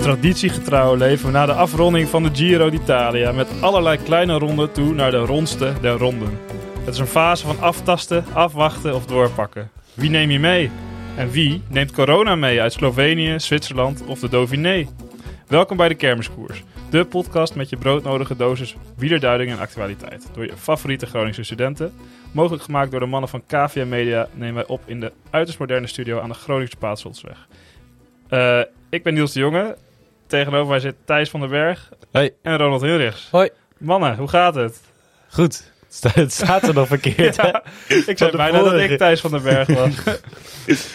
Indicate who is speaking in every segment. Speaker 1: Traditiegetrouw leven we na de afronding van de Giro d'Italia met allerlei kleine ronden toe naar de rondste der ronden. Het is een fase van aftasten, afwachten of doorpakken. Wie neem je mee? En wie neemt corona mee uit Slovenië, Zwitserland of de Dauphiné? Welkom bij de Kermiskoers, de podcast met je broodnodige dosis wielerduiding en actualiteit. Door je favoriete Groningse studenten. Mogelijk gemaakt door de mannen van KVM Media nemen wij op in de uiterst moderne studio aan de Groningse Paatsoltsweg. Eh, ik ben Niels de Jonge. Tegenover mij zit Thijs van den Berg
Speaker 2: Hey.
Speaker 1: en Ronald Hilrichs.
Speaker 2: Hoi.
Speaker 1: Mannen, hoe gaat het?
Speaker 2: Goed. Het sta- Het staat er nog verkeerd. hè?
Speaker 1: Ja, ik zei
Speaker 2: de
Speaker 1: bijna dat
Speaker 2: vorige.
Speaker 1: ik Thijs van den Berg was.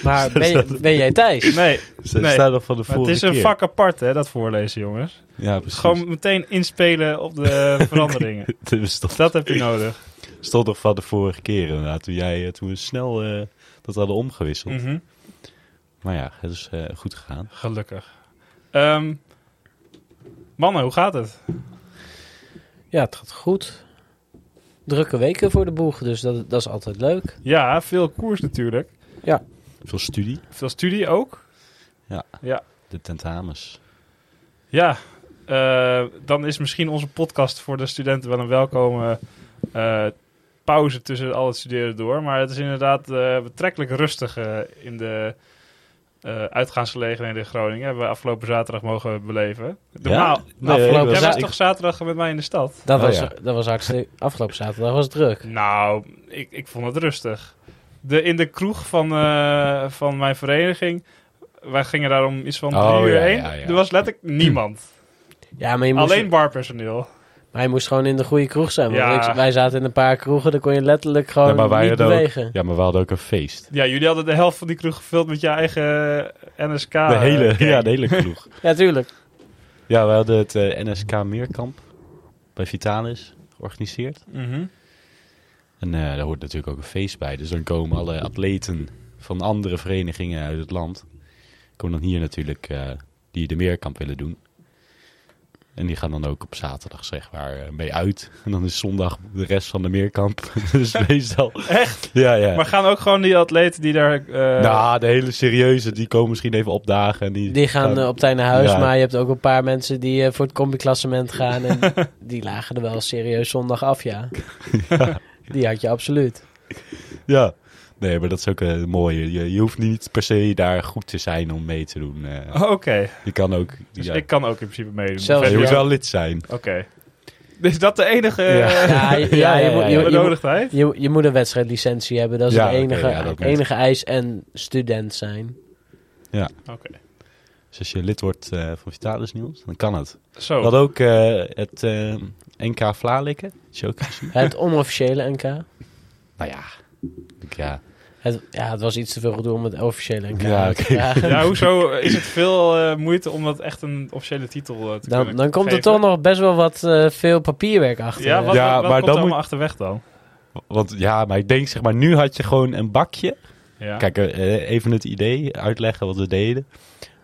Speaker 3: Maar ben, je- ben jij Thijs?
Speaker 1: Nee,
Speaker 2: Ze
Speaker 1: Nee.
Speaker 2: staat nog van de
Speaker 1: maar het
Speaker 2: vorige
Speaker 1: is een
Speaker 2: keer.
Speaker 1: vak apart hè, dat voorlezen jongens.
Speaker 2: Ja, precies.
Speaker 1: Gewoon meteen inspelen op de veranderingen.
Speaker 2: Het stond,
Speaker 1: Dat heb je nodig.
Speaker 2: stond nog van de vorige keer inderdaad. Toen, jij, eh, toen we snel eh, dat hadden omgewisseld.
Speaker 1: Mhm.
Speaker 2: Maar ja, het is eh, goed gegaan.
Speaker 1: Gelukkig. Ehm, mannen, hoe gaat het?
Speaker 3: Ja, het gaat goed. Drukke weken voor de boeg, dus dat, dat is altijd leuk.
Speaker 1: Ja, veel koers natuurlijk.
Speaker 2: Veel studie.
Speaker 1: Veel studie ook.
Speaker 2: De tentamens.
Speaker 1: Ja, eh, dan is misschien onze podcast voor de studenten wel een welkome eh, pauze tussen al het studeren door. Maar het is inderdaad eh, betrekkelijk rustig eh, in de eh, uitgaansgelegenheden in Groningen. Hebben we afgelopen zaterdag mogen beleven. Normaal.
Speaker 2: Nee,
Speaker 3: afgelopen
Speaker 2: ik
Speaker 1: Jij
Speaker 2: was-
Speaker 1: Nou, was
Speaker 3: ik-
Speaker 1: toch zaterdag met mij in de stad?
Speaker 3: Dat,
Speaker 2: Oh
Speaker 3: was,
Speaker 2: ja.
Speaker 3: dat was hartstikke... Afgelopen zaterdag was het druk.
Speaker 1: Nou, ik, ik vond het rustig. De, in de kroeg van, eh, van mijn vereniging, wij gingen daar om iets van
Speaker 2: Oh,
Speaker 1: drie uur
Speaker 2: ja,
Speaker 1: heen.
Speaker 2: ja, ja. Hm.
Speaker 1: Er was letterlijk niemand.
Speaker 3: Ja, maar je moest,
Speaker 1: Alleen barpersoneel.
Speaker 3: maar je moest gewoon in de goede kroeg zijn. Want
Speaker 1: Ja.
Speaker 3: ik- wij zaten in een paar kroegen, daar kon je letterlijk gewoon
Speaker 2: Ja, maar wij
Speaker 3: niet
Speaker 2: hadden ook-
Speaker 3: bewegen.
Speaker 2: Ja, maar we hadden ook een feest.
Speaker 1: Ja, jullie hadden de helft van die kroeg gevuld met je eigen NSK.
Speaker 2: De hele,
Speaker 1: eh,
Speaker 2: ja, de hele kroeg.
Speaker 3: Ja, tuurlijk.
Speaker 2: ja, we hadden het eh, NSK Meerkamp bij Vitalis georganiseerd.
Speaker 1: Mhm.
Speaker 2: En eh, daar hoort natuurlijk ook een feest bij. Dus dan komen alle atleten van andere verenigingen uit het land. Komen dan hier natuurlijk eh, die de meerkamp willen doen. En die gaan dan ook op zaterdag zeg maar eh, mee uit. En dan is zondag de rest van de meerkamp. dus meestal... Echt? Ja, ja.
Speaker 1: Maar gaan ook gewoon die atleten die daar... eh,
Speaker 2: nou, de hele serieuze, die komen misschien even opdagen. En die,
Speaker 3: Die gaan eh, op tijd naar huis,
Speaker 2: Ja.
Speaker 3: maar je hebt ook een paar mensen die eh, voor het combi-klassement gaan. En die lagen er wel serieus zondag af, ja. Die had je absoluut.
Speaker 2: Ja. Nee, maar dat is ook eh mooi. Je, je hoeft niet per se daar goed te zijn om mee te doen. eh.
Speaker 1: Oké,
Speaker 2: Je kan ook...
Speaker 1: Oh. dus
Speaker 2: ja.
Speaker 1: ik kan ook in principe meedoen.
Speaker 3: Zelfs-
Speaker 1: Of
Speaker 2: je
Speaker 1: heb
Speaker 2: moet
Speaker 1: je-
Speaker 2: wel lid zijn.
Speaker 1: Oké. Is dat de enige
Speaker 2: Ja.
Speaker 1: eh,
Speaker 3: Ja, je,
Speaker 2: Ja,
Speaker 3: ja, je
Speaker 2: ja,
Speaker 3: moet-
Speaker 2: ja,
Speaker 3: je-
Speaker 2: ja.
Speaker 3: je moet-
Speaker 1: benodigdheid?
Speaker 3: Je, je moet een wedstrijdlicentie hebben, dat is
Speaker 2: Ja,
Speaker 3: het
Speaker 2: oké,
Speaker 3: enige,
Speaker 2: ja, dat moet.
Speaker 3: enige eis. En student zijn.
Speaker 1: Oké.
Speaker 2: Dus als je lid wordt eh, van Vitalis Niels, dan kan het.
Speaker 1: Zo.
Speaker 2: We hadden ook eh, het eh, NK Vlalikken. Dat is ook gezien.
Speaker 3: Het onofficiële NK.
Speaker 2: nou ja. Ik, ja.
Speaker 3: Het, ja, het was iets te veel gedoe om het officiële NK
Speaker 2: Ja,
Speaker 3: uit te
Speaker 2: oké.
Speaker 3: vragen.
Speaker 1: Ja, hoezo is het veel eh, moeite om dat echt een officiële titel eh, te
Speaker 3: Dan,
Speaker 1: kunnen
Speaker 3: dan komt er
Speaker 1: geven?
Speaker 3: toch nog best wel wat eh, veel papierwerk achter.
Speaker 1: Ja, wat,
Speaker 2: Ja,
Speaker 1: wat- wat
Speaker 2: maar
Speaker 1: komt er
Speaker 2: dan moet-
Speaker 1: allemaal achterweg dan?
Speaker 2: Want ja, maar ik denk zeg maar, nu had je gewoon een bakje.
Speaker 1: Ja.
Speaker 2: Kijk, eh, even het idee uitleggen wat we deden.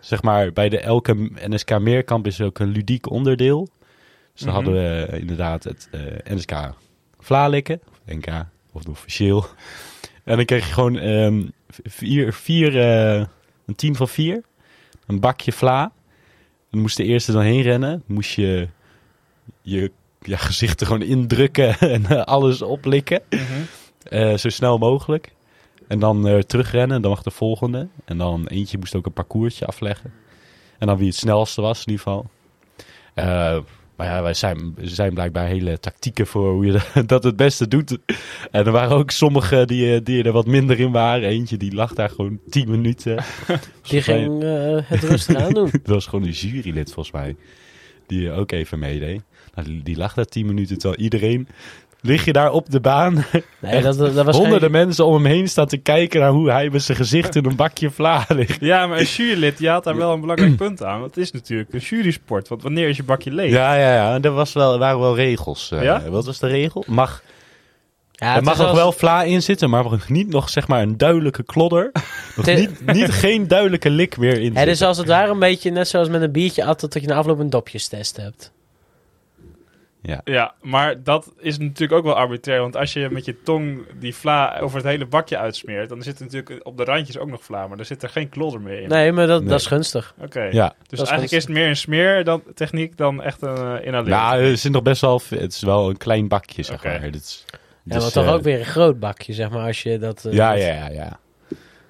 Speaker 2: Zeg maar, bij de elke NSK Meerkamp is ook een ludiek onderdeel. Dus dan
Speaker 1: Mhm.
Speaker 2: hadden we eh, inderdaad het eh, NSK Vlalikken. Of NK, of het officieel. En dan kreeg je gewoon ehm, v- vier, vier eh, een team van vier. Een bakje vla. Dan moest de eerste dan heen rennen. Moest je je ja, gezicht er gewoon indrukken en eh, alles oplikken.
Speaker 1: Mhm.
Speaker 2: Eh, zo snel mogelijk. En dan eh, terugrennen, dan mag de volgende. En dan eentje moest ook een parcoursje afleggen. En dan wie het snelste was in ieder geval. Eh, maar ja, wij zijn, er zijn blijkbaar hele tactieken voor hoe je dat- dat het beste doet. En er waren ook sommigen die, eh, die er wat minder in waren. Eentje die lag daar gewoon 10 minuten.
Speaker 3: Die ging eh, het rustig aan doen.
Speaker 2: Dat was gewoon een jurylid volgens mij. Die eh, ook even meedeed. Nou, die, die lag daar 10 minuten terwijl iedereen... Lig je daar op de baan
Speaker 3: Nee,
Speaker 2: Echt?
Speaker 3: dat, dat was
Speaker 2: honderden
Speaker 3: geen...
Speaker 2: mensen om hem heen staan te kijken naar hoe hij met zijn gezicht in een bakje vla ligt.
Speaker 1: Ja, maar een jurylid, je haalt daar wel een belangrijk punt aan. Want het is natuurlijk een jurysport. Want wanneer is je bakje leeg?
Speaker 2: Ja, ja, ja. Er was wel, waren wel regels. eh.
Speaker 1: Ja?
Speaker 2: Wat was de regel? Mag,
Speaker 3: Ja,
Speaker 2: er
Speaker 3: het
Speaker 2: mag
Speaker 3: was
Speaker 2: nog wel vla in zitten, maar mag niet nog zeg maar een duidelijke klodder. Nog
Speaker 3: Het is-
Speaker 2: niet, niet geen duidelijke lik meer in
Speaker 3: Het
Speaker 2: zitten.
Speaker 3: is als het ware een beetje net zoals met een biertje atten dat je na afloop een dopjestest hebt.
Speaker 2: Ja.
Speaker 1: Ja, maar dat is natuurlijk ook wel arbitrair. Want als je met je tong die vla over het hele bakje uitsmeert, dan zit er natuurlijk op de randjes ook nog vla, maar er zit er geen klodder meer in.
Speaker 3: Nee, maar dat,
Speaker 2: Nee.
Speaker 3: dat is gunstig.
Speaker 1: Oké.
Speaker 2: Ja.
Speaker 1: Dus
Speaker 3: Dat is
Speaker 1: eigenlijk is het meer een smeer dan techniek dan echt een eh, inhaleren.
Speaker 2: Nou, er zit nog best wel... Het is wel een klein bakje, zeg
Speaker 1: Oké.
Speaker 2: maar. Dit is,
Speaker 3: Ja,
Speaker 2: dus,
Speaker 3: maar toch
Speaker 2: eh,
Speaker 3: ook weer een groot bakje, zeg maar, als je dat... eh,
Speaker 2: Ja,
Speaker 3: doet.
Speaker 2: ja, ja, ja.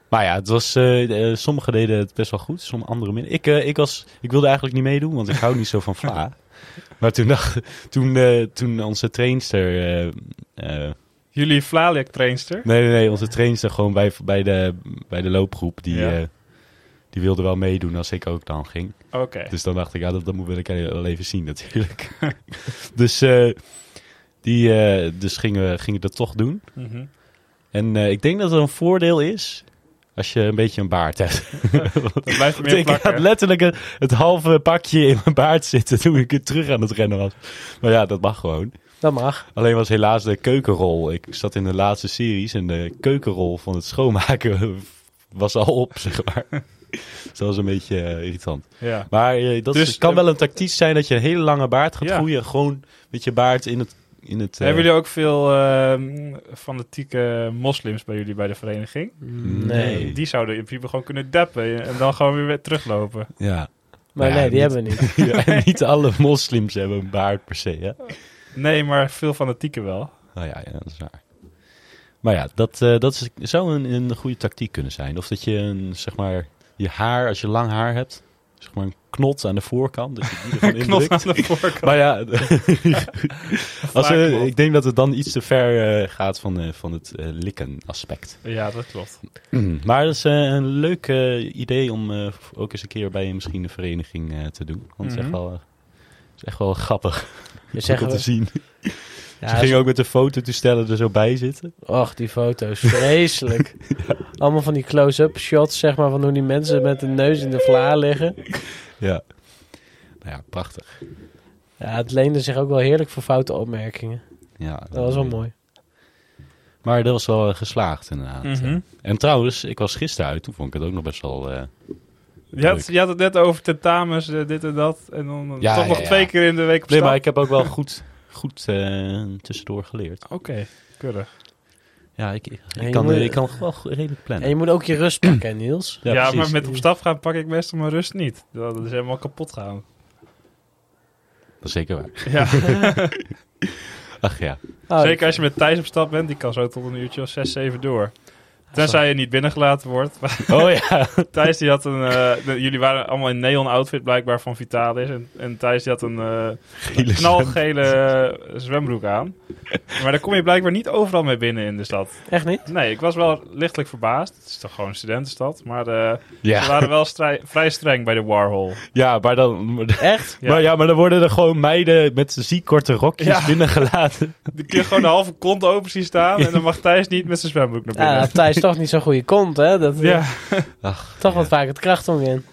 Speaker 2: Maar ja, het was, eh, eh, sommigen deden het best wel goed, sommige anderen minder. Ik, eh, ik, was, ik wilde eigenlijk niet meedoen, want ik hou niet zo van vla. Maar toen, dacht, toen, eh, toen onze trainster... eh, eh,
Speaker 1: Jullie Vlalik trainster.
Speaker 2: nee, nee, nee, onze trainster gewoon bij, bij, de, bij de loopgroep, die,
Speaker 1: Ja.
Speaker 2: eh, die wilde wel meedoen als ik ook dan ging.
Speaker 1: Oké.
Speaker 2: Dus dan dacht ik, ja, dat, dat moet wil ik wel even zien natuurlijk. dus, eh, die, eh, dus gingen, we- gingen we dat toch doen.
Speaker 1: Mhm.
Speaker 2: En eh, ik denk dat het een voordeel is als je een beetje een baard hebt.
Speaker 1: Dat blijft er meer
Speaker 2: ik had
Speaker 1: plakken.
Speaker 2: letterlijk het, het halve pakje in mijn baard zitten toen ik het terug aan het rennen was. Maar ja, dat mag gewoon.
Speaker 3: Dat mag.
Speaker 2: Alleen was helaas de keukenrol. Ik zat in de laatste series en de keukenrol van het schoonmaken was al op, zeg maar. Dus dat was een beetje eh, irritant.
Speaker 1: Ja.
Speaker 2: Maar eh, dat
Speaker 1: Dus,
Speaker 2: is- kan
Speaker 1: eh,
Speaker 2: wel een tactiek zijn dat je een hele lange baard gaat
Speaker 1: Ja.
Speaker 2: groeien. Gewoon met je baard in het... In het eh,
Speaker 1: Hebben jullie ook veel ehm, fanatieke moslims bij jullie bij de vereniging?
Speaker 3: Mm,
Speaker 1: Eh,
Speaker 2: Nee.
Speaker 1: Die zouden in principe gewoon kunnen dappen en dan gewoon weer weer teruglopen.
Speaker 2: ja.
Speaker 3: Maar
Speaker 2: Ja,
Speaker 3: nee, die
Speaker 2: niet-
Speaker 3: hebben we niet.
Speaker 2: Ja, en niet alle moslims hebben een baard per se, hè?
Speaker 1: Nee, maar veel fanatieken wel.
Speaker 2: Nou ja, ja, dat is waar. Maar ja, dat, eh, dat is, zou een, een goede tactiek kunnen zijn. Of dat je een, zeg maar, je haar, als je lang haar hebt, zeg maar een knot aan de voorkant. Dus je die er gewoon
Speaker 1: Knop
Speaker 2: indrukt.
Speaker 1: aan de voorkant.
Speaker 2: Maar ja, als, we-
Speaker 1: Vaak wel.
Speaker 2: ik denk dat het dan iets te ver eh, gaat van, eh, van het eh, likken aspect.
Speaker 1: Ja, dat klopt.
Speaker 3: Mm.
Speaker 2: Maar dat is eh, een leuk eh, idee om eh, ook eens een keer bij misschien de vereniging eh, te doen. Want het is echt
Speaker 1: Mhm.
Speaker 2: wel... eh, het is echt wel grappig
Speaker 3: We
Speaker 2: om
Speaker 3: zeggen
Speaker 2: te
Speaker 3: we,
Speaker 2: zien.
Speaker 3: ja,
Speaker 2: Ze gingen ook met de fototoestellen er zo bij zitten.
Speaker 3: Och, die foto's. Vreselijk. Allemaal van die close-up shots, zeg maar, van hoe die mensen met de neus in de vla liggen.
Speaker 2: Ja. Nou ja, prachtig.
Speaker 3: Ja, het leende zich ook wel heerlijk voor foute opmerkingen.
Speaker 2: Ja,
Speaker 3: Dat was wel mooi.
Speaker 2: Maar dat was wel eh, geslaagd inderdaad. Eh,
Speaker 1: Mhm.
Speaker 2: En trouwens, ik was gisteren uit. Toen vond ik het ook nog best wel... eh,
Speaker 1: Je had,
Speaker 2: Leuk.
Speaker 1: je had het net over tentamens, eh, dit en dat. En dan eh,
Speaker 2: Ja,
Speaker 1: toch
Speaker 2: ja,
Speaker 1: nog
Speaker 2: ja.
Speaker 1: twee keer in de week op
Speaker 2: Nee,
Speaker 1: stap.
Speaker 2: maar ik heb ook wel goed, goed eh, tussendoor geleerd.
Speaker 1: Oké, keurig.
Speaker 2: Ja, ik, ik,
Speaker 3: En je
Speaker 2: kan,
Speaker 3: moet-
Speaker 2: eh, ik kan wel go- redelijk
Speaker 3: En
Speaker 2: plannen.
Speaker 3: je moet ook je rust pakken, hè, Niels.
Speaker 1: Ja,
Speaker 2: precies.
Speaker 1: maar met op stap gaan pak ik meestal mijn rust niet. Dat is helemaal kapot gaan.
Speaker 2: Dat is zeker waar.
Speaker 1: Ja,
Speaker 2: Ach ja.
Speaker 3: Oh,
Speaker 1: zeker als je met Thijs op stap bent, die kan zo tot een uurtje of zes, zeven door. Tenzij je niet binnengelaten wordt.
Speaker 2: Oh ja.
Speaker 1: Thijs die had een... eh, de- jullie waren allemaal in neon outfit blijkbaar van Vitalis. En, en Thijs die had een eh,
Speaker 2: Gele
Speaker 1: knalgele eh, zwembroek aan. Maar daar kom je blijkbaar niet overal mee binnen in de stad.
Speaker 3: Echt niet?
Speaker 1: Nee, ik was wel lichtelijk verbaasd. Het is toch gewoon een studentenstad. Maar eh,
Speaker 2: zwem-
Speaker 1: ze
Speaker 2: Ja,
Speaker 1: waren wel strij- vrij streng bij de Warhol.
Speaker 2: ja maar dan... Maar,
Speaker 3: Echt?
Speaker 1: Ja.
Speaker 2: Maar ja, maar dan worden er gewoon meiden met ziek korte rokjes
Speaker 1: Ja.
Speaker 2: binnengelaten.
Speaker 1: Die kun je gewoon de halve kont open zien staan. En dan mag Thijs niet met zijn zwembroek naar
Speaker 3: Ja,
Speaker 1: binnen.
Speaker 3: Ah, Thijs toch niet zo'n goede kont, hè? Dat,
Speaker 1: Ja,
Speaker 2: Ach,
Speaker 3: Toch
Speaker 2: ja.
Speaker 3: wat vaak het krachtong in.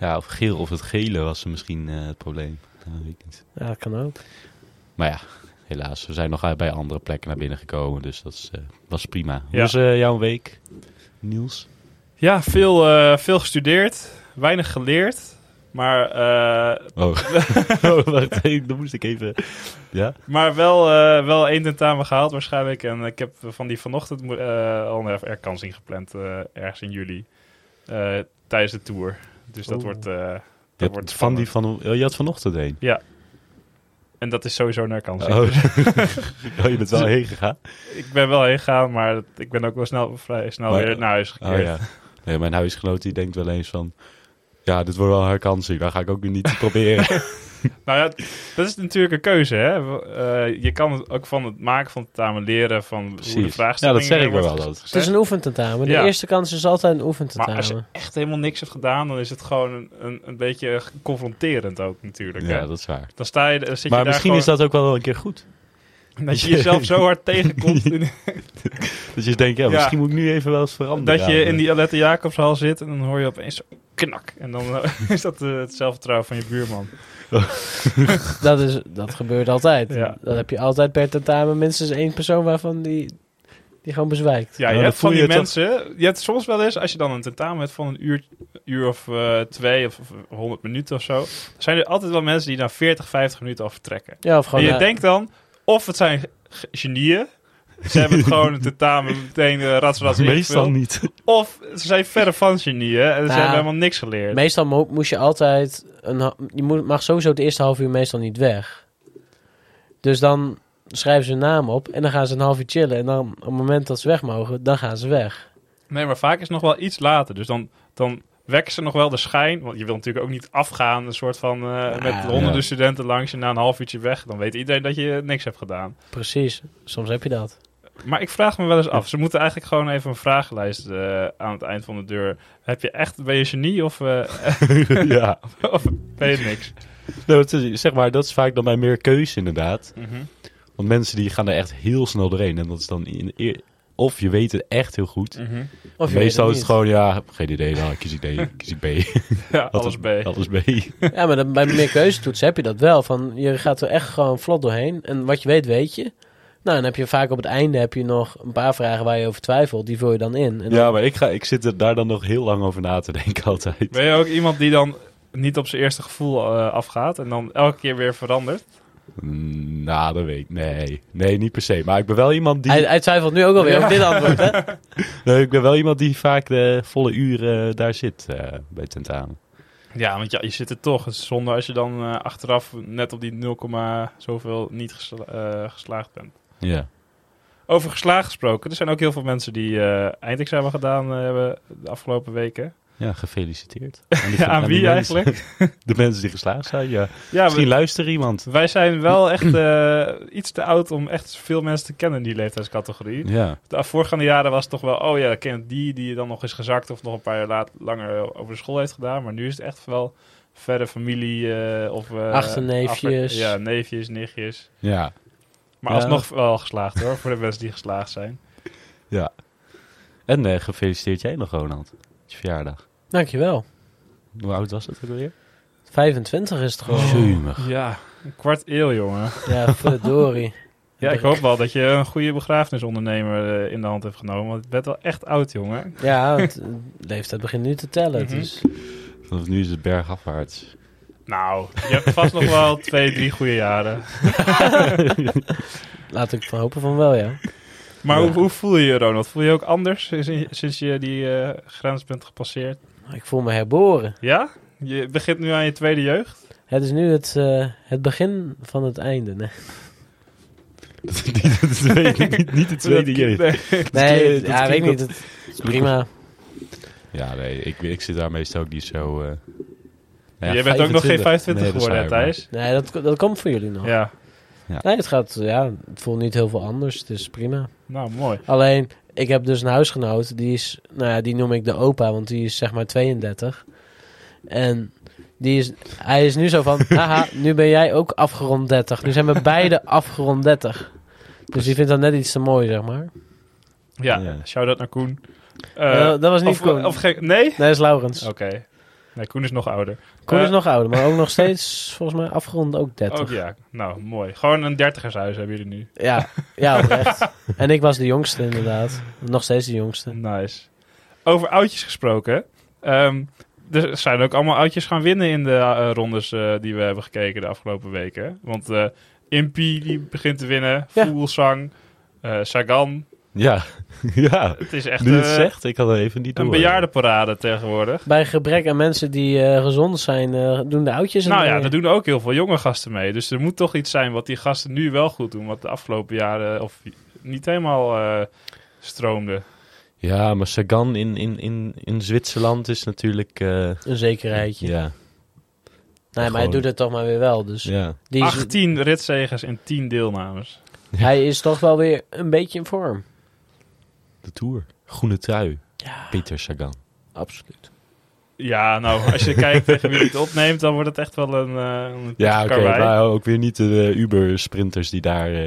Speaker 2: Ja, of geel of het gele was misschien eh, het probleem. Dat weet ik niet.
Speaker 3: Ja, dat kan ook.
Speaker 2: Maar ja, helaas. We zijn nog bij andere plekken naar binnen gekomen. Dus dat is, eh, was prima. Hoe
Speaker 1: Ja.
Speaker 2: was eh, jouw week, Niels?
Speaker 1: ja veel, eh, veel gestudeerd. Weinig geleerd. Maar, eh,
Speaker 2: Oh, oh wacht, hey, dan moest ik even... Ja?
Speaker 1: maar wel, eh, wel één tentamen gehaald waarschijnlijk. En ik heb van die vanochtend mo- eh, al een herkansing gepland. eh, ergens in juli. Eh, tijdens de tour. Dus dat
Speaker 3: Oeh.
Speaker 1: wordt... eh,
Speaker 2: Je
Speaker 1: dat
Speaker 2: had,
Speaker 1: wordt
Speaker 2: van
Speaker 1: spannend.
Speaker 2: die van, oh, je had vanochtend een.
Speaker 1: En dat is sowieso een herkansing.
Speaker 2: Oh. oh, je bent wel heen gegaan?
Speaker 1: Ik ben wel heen gegaan, maar dat- ik ben ook wel snel, vrij snel
Speaker 2: Maar-
Speaker 1: weer naar huis gekeerd.
Speaker 2: Oh ja. Nee, mijn huisgenoot die denkt wel eens van... Ja, dit wordt wel een herkansing. Daar ga ik ook weer niet proberen.
Speaker 1: Nou ja, dat is natuurlijk een keuze, hè. W- eh, je kan het ook van het maken van tentamen leren, van hoe de
Speaker 2: Precies. Ja,
Speaker 1: vraagstellingen
Speaker 2: dat zeg ik wel
Speaker 1: wordt
Speaker 2: wel. Dat.
Speaker 3: Het is
Speaker 1: gezegd.
Speaker 3: een oefententamen. De
Speaker 1: Ja.
Speaker 3: eerste kans is altijd een
Speaker 1: Maar als je
Speaker 3: oefententamen.
Speaker 1: echt helemaal niks hebt gedaan, dan is het gewoon een, een, een beetje confronterend ook natuurlijk. hè.
Speaker 2: Ja, dat is waar.
Speaker 1: Dan sta je, dan zit
Speaker 2: Maar
Speaker 1: je daar
Speaker 2: misschien
Speaker 1: gewoon,
Speaker 2: is dat ook wel een keer goed.
Speaker 1: dat... je jezelf zo hard tegenkomt, in-
Speaker 2: Dat je denkt, ja,
Speaker 1: Ja.
Speaker 2: misschien moet ik nu even wel eens veranderen.
Speaker 1: dat je
Speaker 2: Ja,
Speaker 1: in die Alette Jacobshal zit en dan hoor je opeens zo knak. En dan eh, is dat eh, het zelfvertrouwen van je buurman.
Speaker 3: Dat, is, dat gebeurt altijd.
Speaker 1: Ja.
Speaker 3: Dat heb je altijd per tentamen minstens één persoon waarvan die, die Die gewoon bezwijkt.
Speaker 1: Ja, je
Speaker 2: Nou,
Speaker 1: hebt
Speaker 2: dan
Speaker 1: van
Speaker 2: voel
Speaker 1: die
Speaker 2: je toch-
Speaker 1: mensen. Je hebt soms wel eens, als je dan een tentamen hebt van een uur, uur of eh, twee of honderd minuten of zo. dan zijn er altijd wel mensen die na 40, 50 minuten al vertrekken.
Speaker 3: Ja, of
Speaker 2: Oh,
Speaker 3: gewoon...
Speaker 1: en je
Speaker 3: eh,
Speaker 1: denkt dan, of het zijn g- genieën. Ze hebben het gewoon een tentamen meteen eh rats, rats
Speaker 2: Meestal
Speaker 1: ingevuld.
Speaker 2: niet.
Speaker 1: Of ze zijn verre van genieën en ze
Speaker 3: Nou,
Speaker 1: hebben helemaal niks geleerd.
Speaker 3: Meestal mo- moest je altijd... Een, ha- je moet- mag sowieso het eerste half uur meestal niet weg. Dus dan schrijven ze hun naam op en dan gaan ze een half uur chillen. En dan op het moment dat ze weg mogen, dan gaan ze weg.
Speaker 1: Nee, maar vaak is het nog wel iets later. Dus dan, dan wekken ze nog wel de schijn. Want je wil natuurlijk ook niet afgaan. Een soort van eh, met honderden
Speaker 2: ja.
Speaker 1: studenten langs je na een half uurtje weg. Dan weet iedereen dat je niks hebt gedaan.
Speaker 3: Precies. Soms heb je dat.
Speaker 1: Maar ik vraag me wel eens af. Ze moeten eigenlijk gewoon even een vragenlijst eh, aan het eind van de deur. Heb je echt, ben je genie of, eh,
Speaker 2: ja.
Speaker 1: of ben je niks?
Speaker 2: Nou, dat is, zeg maar, dat is vaak dan bij meer keuze inderdaad.
Speaker 1: Mhm,
Speaker 2: Want mensen die gaan er echt heel snel doorheen. En dat is dan... In, eer- of je weet het echt heel goed.
Speaker 1: mhm.
Speaker 3: Of je weet
Speaker 2: Meestal
Speaker 3: het
Speaker 2: is het
Speaker 3: niet.
Speaker 2: gewoon, ja, geen idee. Nou, kies idee, kies ik B.
Speaker 1: Ja, alles B.
Speaker 2: Alles B.
Speaker 3: Ja, maar dan, bij meer keuzetoetsen heb je dat wel. Van, je gaat er echt gewoon vlot doorheen. En wat je weet, weet je. Nou, dan heb je vaak op het einde heb je nog een paar vragen waar je over twijfelt. Die vul je dan in. En dan-
Speaker 2: Ja, maar ik, ga, ik zit er daar dan nog heel lang over na te denken altijd.
Speaker 1: Ben je ook iemand die dan niet op zijn eerste gevoel eh, afgaat en dan elke keer weer verandert?
Speaker 2: Mm, Nou, dat weet ik. Nee. Nee, niet per se. Maar ik ben wel iemand die,
Speaker 3: hij, hij twijfelt nu ook alweer
Speaker 1: Ja.
Speaker 3: op dit antwoord, hè?
Speaker 2: nee, ik ben wel iemand die vaak de volle uren daar zit eh, bij tentamen.
Speaker 1: Ja, want ja, je zit er toch. Het is zonde als je dan eh, achteraf net op die 0, zoveel niet gesla- eh, geslaagd bent.
Speaker 2: Ja.
Speaker 1: Over geslaagd gesproken. Er zijn ook heel veel mensen die eh, eindexamen gedaan eh, hebben de afgelopen weken.
Speaker 2: Ja, gefeliciteerd.
Speaker 1: Ja, aan
Speaker 2: die
Speaker 1: wie
Speaker 2: mensen-
Speaker 1: eigenlijk?
Speaker 2: De mensen die geslaagd zijn, ja.
Speaker 1: Ja,
Speaker 2: Misschien
Speaker 1: we-
Speaker 2: luistert iemand.
Speaker 1: wij zijn wel echt eh, iets te oud om echt veel mensen te kennen in die leeftijdscategorie.
Speaker 2: Ja.
Speaker 1: De voorgaande jaren was het toch wel, oh ja, ik ken die die dan nog is gezakt of nog een paar jaar laat, langer over de school heeft gedaan. Maar nu is het echt wel verre familie eh, of... eh,
Speaker 3: Achterneefjes.
Speaker 1: achter- ja, neefjes, nichtjes.
Speaker 2: Ja.
Speaker 1: Maar
Speaker 2: Ja.
Speaker 1: alsnog wel geslaagd hoor, voor de mensen die geslaagd zijn.
Speaker 2: En eh, gefeliciteerd jij nog, Ronald. Het is je verjaardag.
Speaker 3: Dankjewel.
Speaker 2: Hoe oud was dat ook alweer?
Speaker 3: 25 is het gewoon.
Speaker 2: Oh. Jumig.
Speaker 1: Ja, een kwart eeuw jongen.
Speaker 3: Ja, verdorie.
Speaker 1: Ja, ik hoop wel dat je een goede begrafenisondernemer eh, in de hand hebt genomen. Want je bent wel echt oud jongen.
Speaker 3: Ja, want de leeftijd begint nu te tellen.
Speaker 1: Mhm.
Speaker 3: Dus
Speaker 2: Vanaf nu is het bergafwaarts.
Speaker 1: Nou, je hebt vast nog wel twee, drie goede jaren.
Speaker 3: laat ik van hopen van wel, ja.
Speaker 1: Maar
Speaker 2: Ja.
Speaker 1: hoe, hoe voel je je Ronald? Voel je je ook anders sinds, sinds je die eh, grens bent gepasseerd?
Speaker 3: Ik voel me herboren.
Speaker 1: Ja? Je begint nu aan je tweede jeugd?
Speaker 3: Het is nu het, eh, het begin van het einde. Nee,
Speaker 2: niet, de tweede, niet, niet de tweede jeugd.
Speaker 1: Nee.
Speaker 3: nee
Speaker 2: klinkt- dat
Speaker 3: ja, weet ik niet.
Speaker 2: klinkt-
Speaker 3: Het is prima.
Speaker 2: Ja, nee. Ik, ik zit daar meestal ook niet zo... eh, nou ja,
Speaker 1: Jij bent ook nog geen 25
Speaker 2: Nee, dat is
Speaker 1: geworden, hè,
Speaker 2: waar, maar-
Speaker 1: Thijs?
Speaker 3: Nee, dat, dat komt voor jullie nog.
Speaker 1: Ja.
Speaker 3: Nee, het gaat, ja, het voelt niet heel veel anders. Het is prima.
Speaker 1: Nou, mooi.
Speaker 3: Alleen, ik heb dus een huisgenoot, die is, nou ja, die noem ik de opa, want die is zeg maar 32. En die is, hij is nu zo van, haha, nu ben jij ook afgerond 30. Nu zijn we beide afgerond 30. Dus die vindt dat net iets te mooi, zeg maar.
Speaker 1: Ja,
Speaker 2: Ja.
Speaker 1: shout-out naar Koen. Eh,
Speaker 3: Eh, dat was niet
Speaker 1: of,
Speaker 3: Koen.
Speaker 1: Of geen- nee?
Speaker 3: Nee, dat is Laurens.
Speaker 1: Oké. Nee, Koen is nog ouder.
Speaker 3: Koen is
Speaker 1: Eh,
Speaker 3: nog ouder, maar ook nog steeds, volgens mij, afgerond ook 30.
Speaker 1: Ook ja. Nou, mooi. Gewoon een dertigershuis hebben jullie nu.
Speaker 3: Ja, ja, oprecht. en ik was de jongste, inderdaad. Nog steeds de jongste.
Speaker 1: Nice. Over oudjes gesproken. ehm, er zijn ook allemaal oudjes gaan winnen in de eh, rondes eh, die we hebben gekeken de afgelopen weken. Want eh Impy die begint te winnen.
Speaker 3: Ja.
Speaker 1: Voelsang. eh, Sagan.
Speaker 2: Ja. ja.
Speaker 1: Het is echt
Speaker 2: Nu je het
Speaker 1: eh,
Speaker 2: zegt, ik had er even niet door.
Speaker 1: een bejaardenparade tegenwoordig.
Speaker 3: Bij gebrek aan mensen die eh, gezond zijn, eh, doen de oudjes... en
Speaker 1: Nou ja,
Speaker 3: eh,
Speaker 1: daar doen ook heel veel jonge gasten mee. Dus er moet toch iets zijn wat die gasten nu wel goed doen. Wat de afgelopen jaren eh, of niet helemaal eh, stroomde.
Speaker 2: Ja, maar Sagan in, in, in, in Zwitserland is natuurlijk... eh,
Speaker 3: Een zekerheidje.
Speaker 2: ja,
Speaker 3: Nee, maar hij
Speaker 2: Gewoon-
Speaker 3: doet het toch maar weer wel. Dus
Speaker 2: ja.
Speaker 3: die is,
Speaker 1: 18 ritzegers en 10 deelnames.
Speaker 3: hij is toch wel weer een beetje in vorm.
Speaker 2: De Tour. Groene trui.
Speaker 3: Ja,
Speaker 2: Peter Sagan.
Speaker 3: absoluut.
Speaker 1: Ja, nou, als je kijkt tegen wie het opneemt, dan wordt het echt wel een, eh, een
Speaker 2: Ja, oké.
Speaker 1: karwei.
Speaker 2: maar ook weer niet de Uber-sprinters die daar... eh,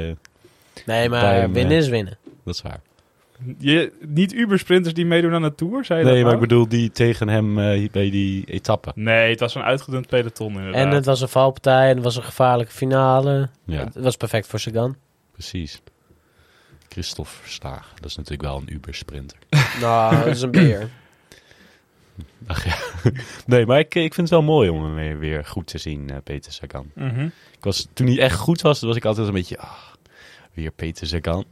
Speaker 3: Nee, maar
Speaker 2: Bij hem,
Speaker 3: winnen
Speaker 2: eh,
Speaker 3: is winnen.
Speaker 2: dat is waar.
Speaker 1: Je, niet Ubersprinters die meedoen aan de Tour, zei je
Speaker 2: Nee,
Speaker 1: dat
Speaker 2: maar ik
Speaker 1: nou?
Speaker 2: bedoel die tegen hem eh, bij die etappe.
Speaker 1: Nee, het was een uitgedund peloton inderdaad.
Speaker 3: En het was een valpartij en het was een gevaarlijke finale.
Speaker 2: Ja,
Speaker 3: Het was perfect voor Sagan.
Speaker 2: precies. Christophe Staag. Dat is natuurlijk wel een Uber-sprinter.
Speaker 3: Nou, dat is een beer.
Speaker 2: Ach ja. Nee, maar ik, ik vind het wel mooi om hem weer, weer goed te zien, eh, Peter Sagan.
Speaker 1: Mhm.
Speaker 2: Ik was, toen hij echt goed was, was ik altijd een beetje... Ah, weer Peter Sagan.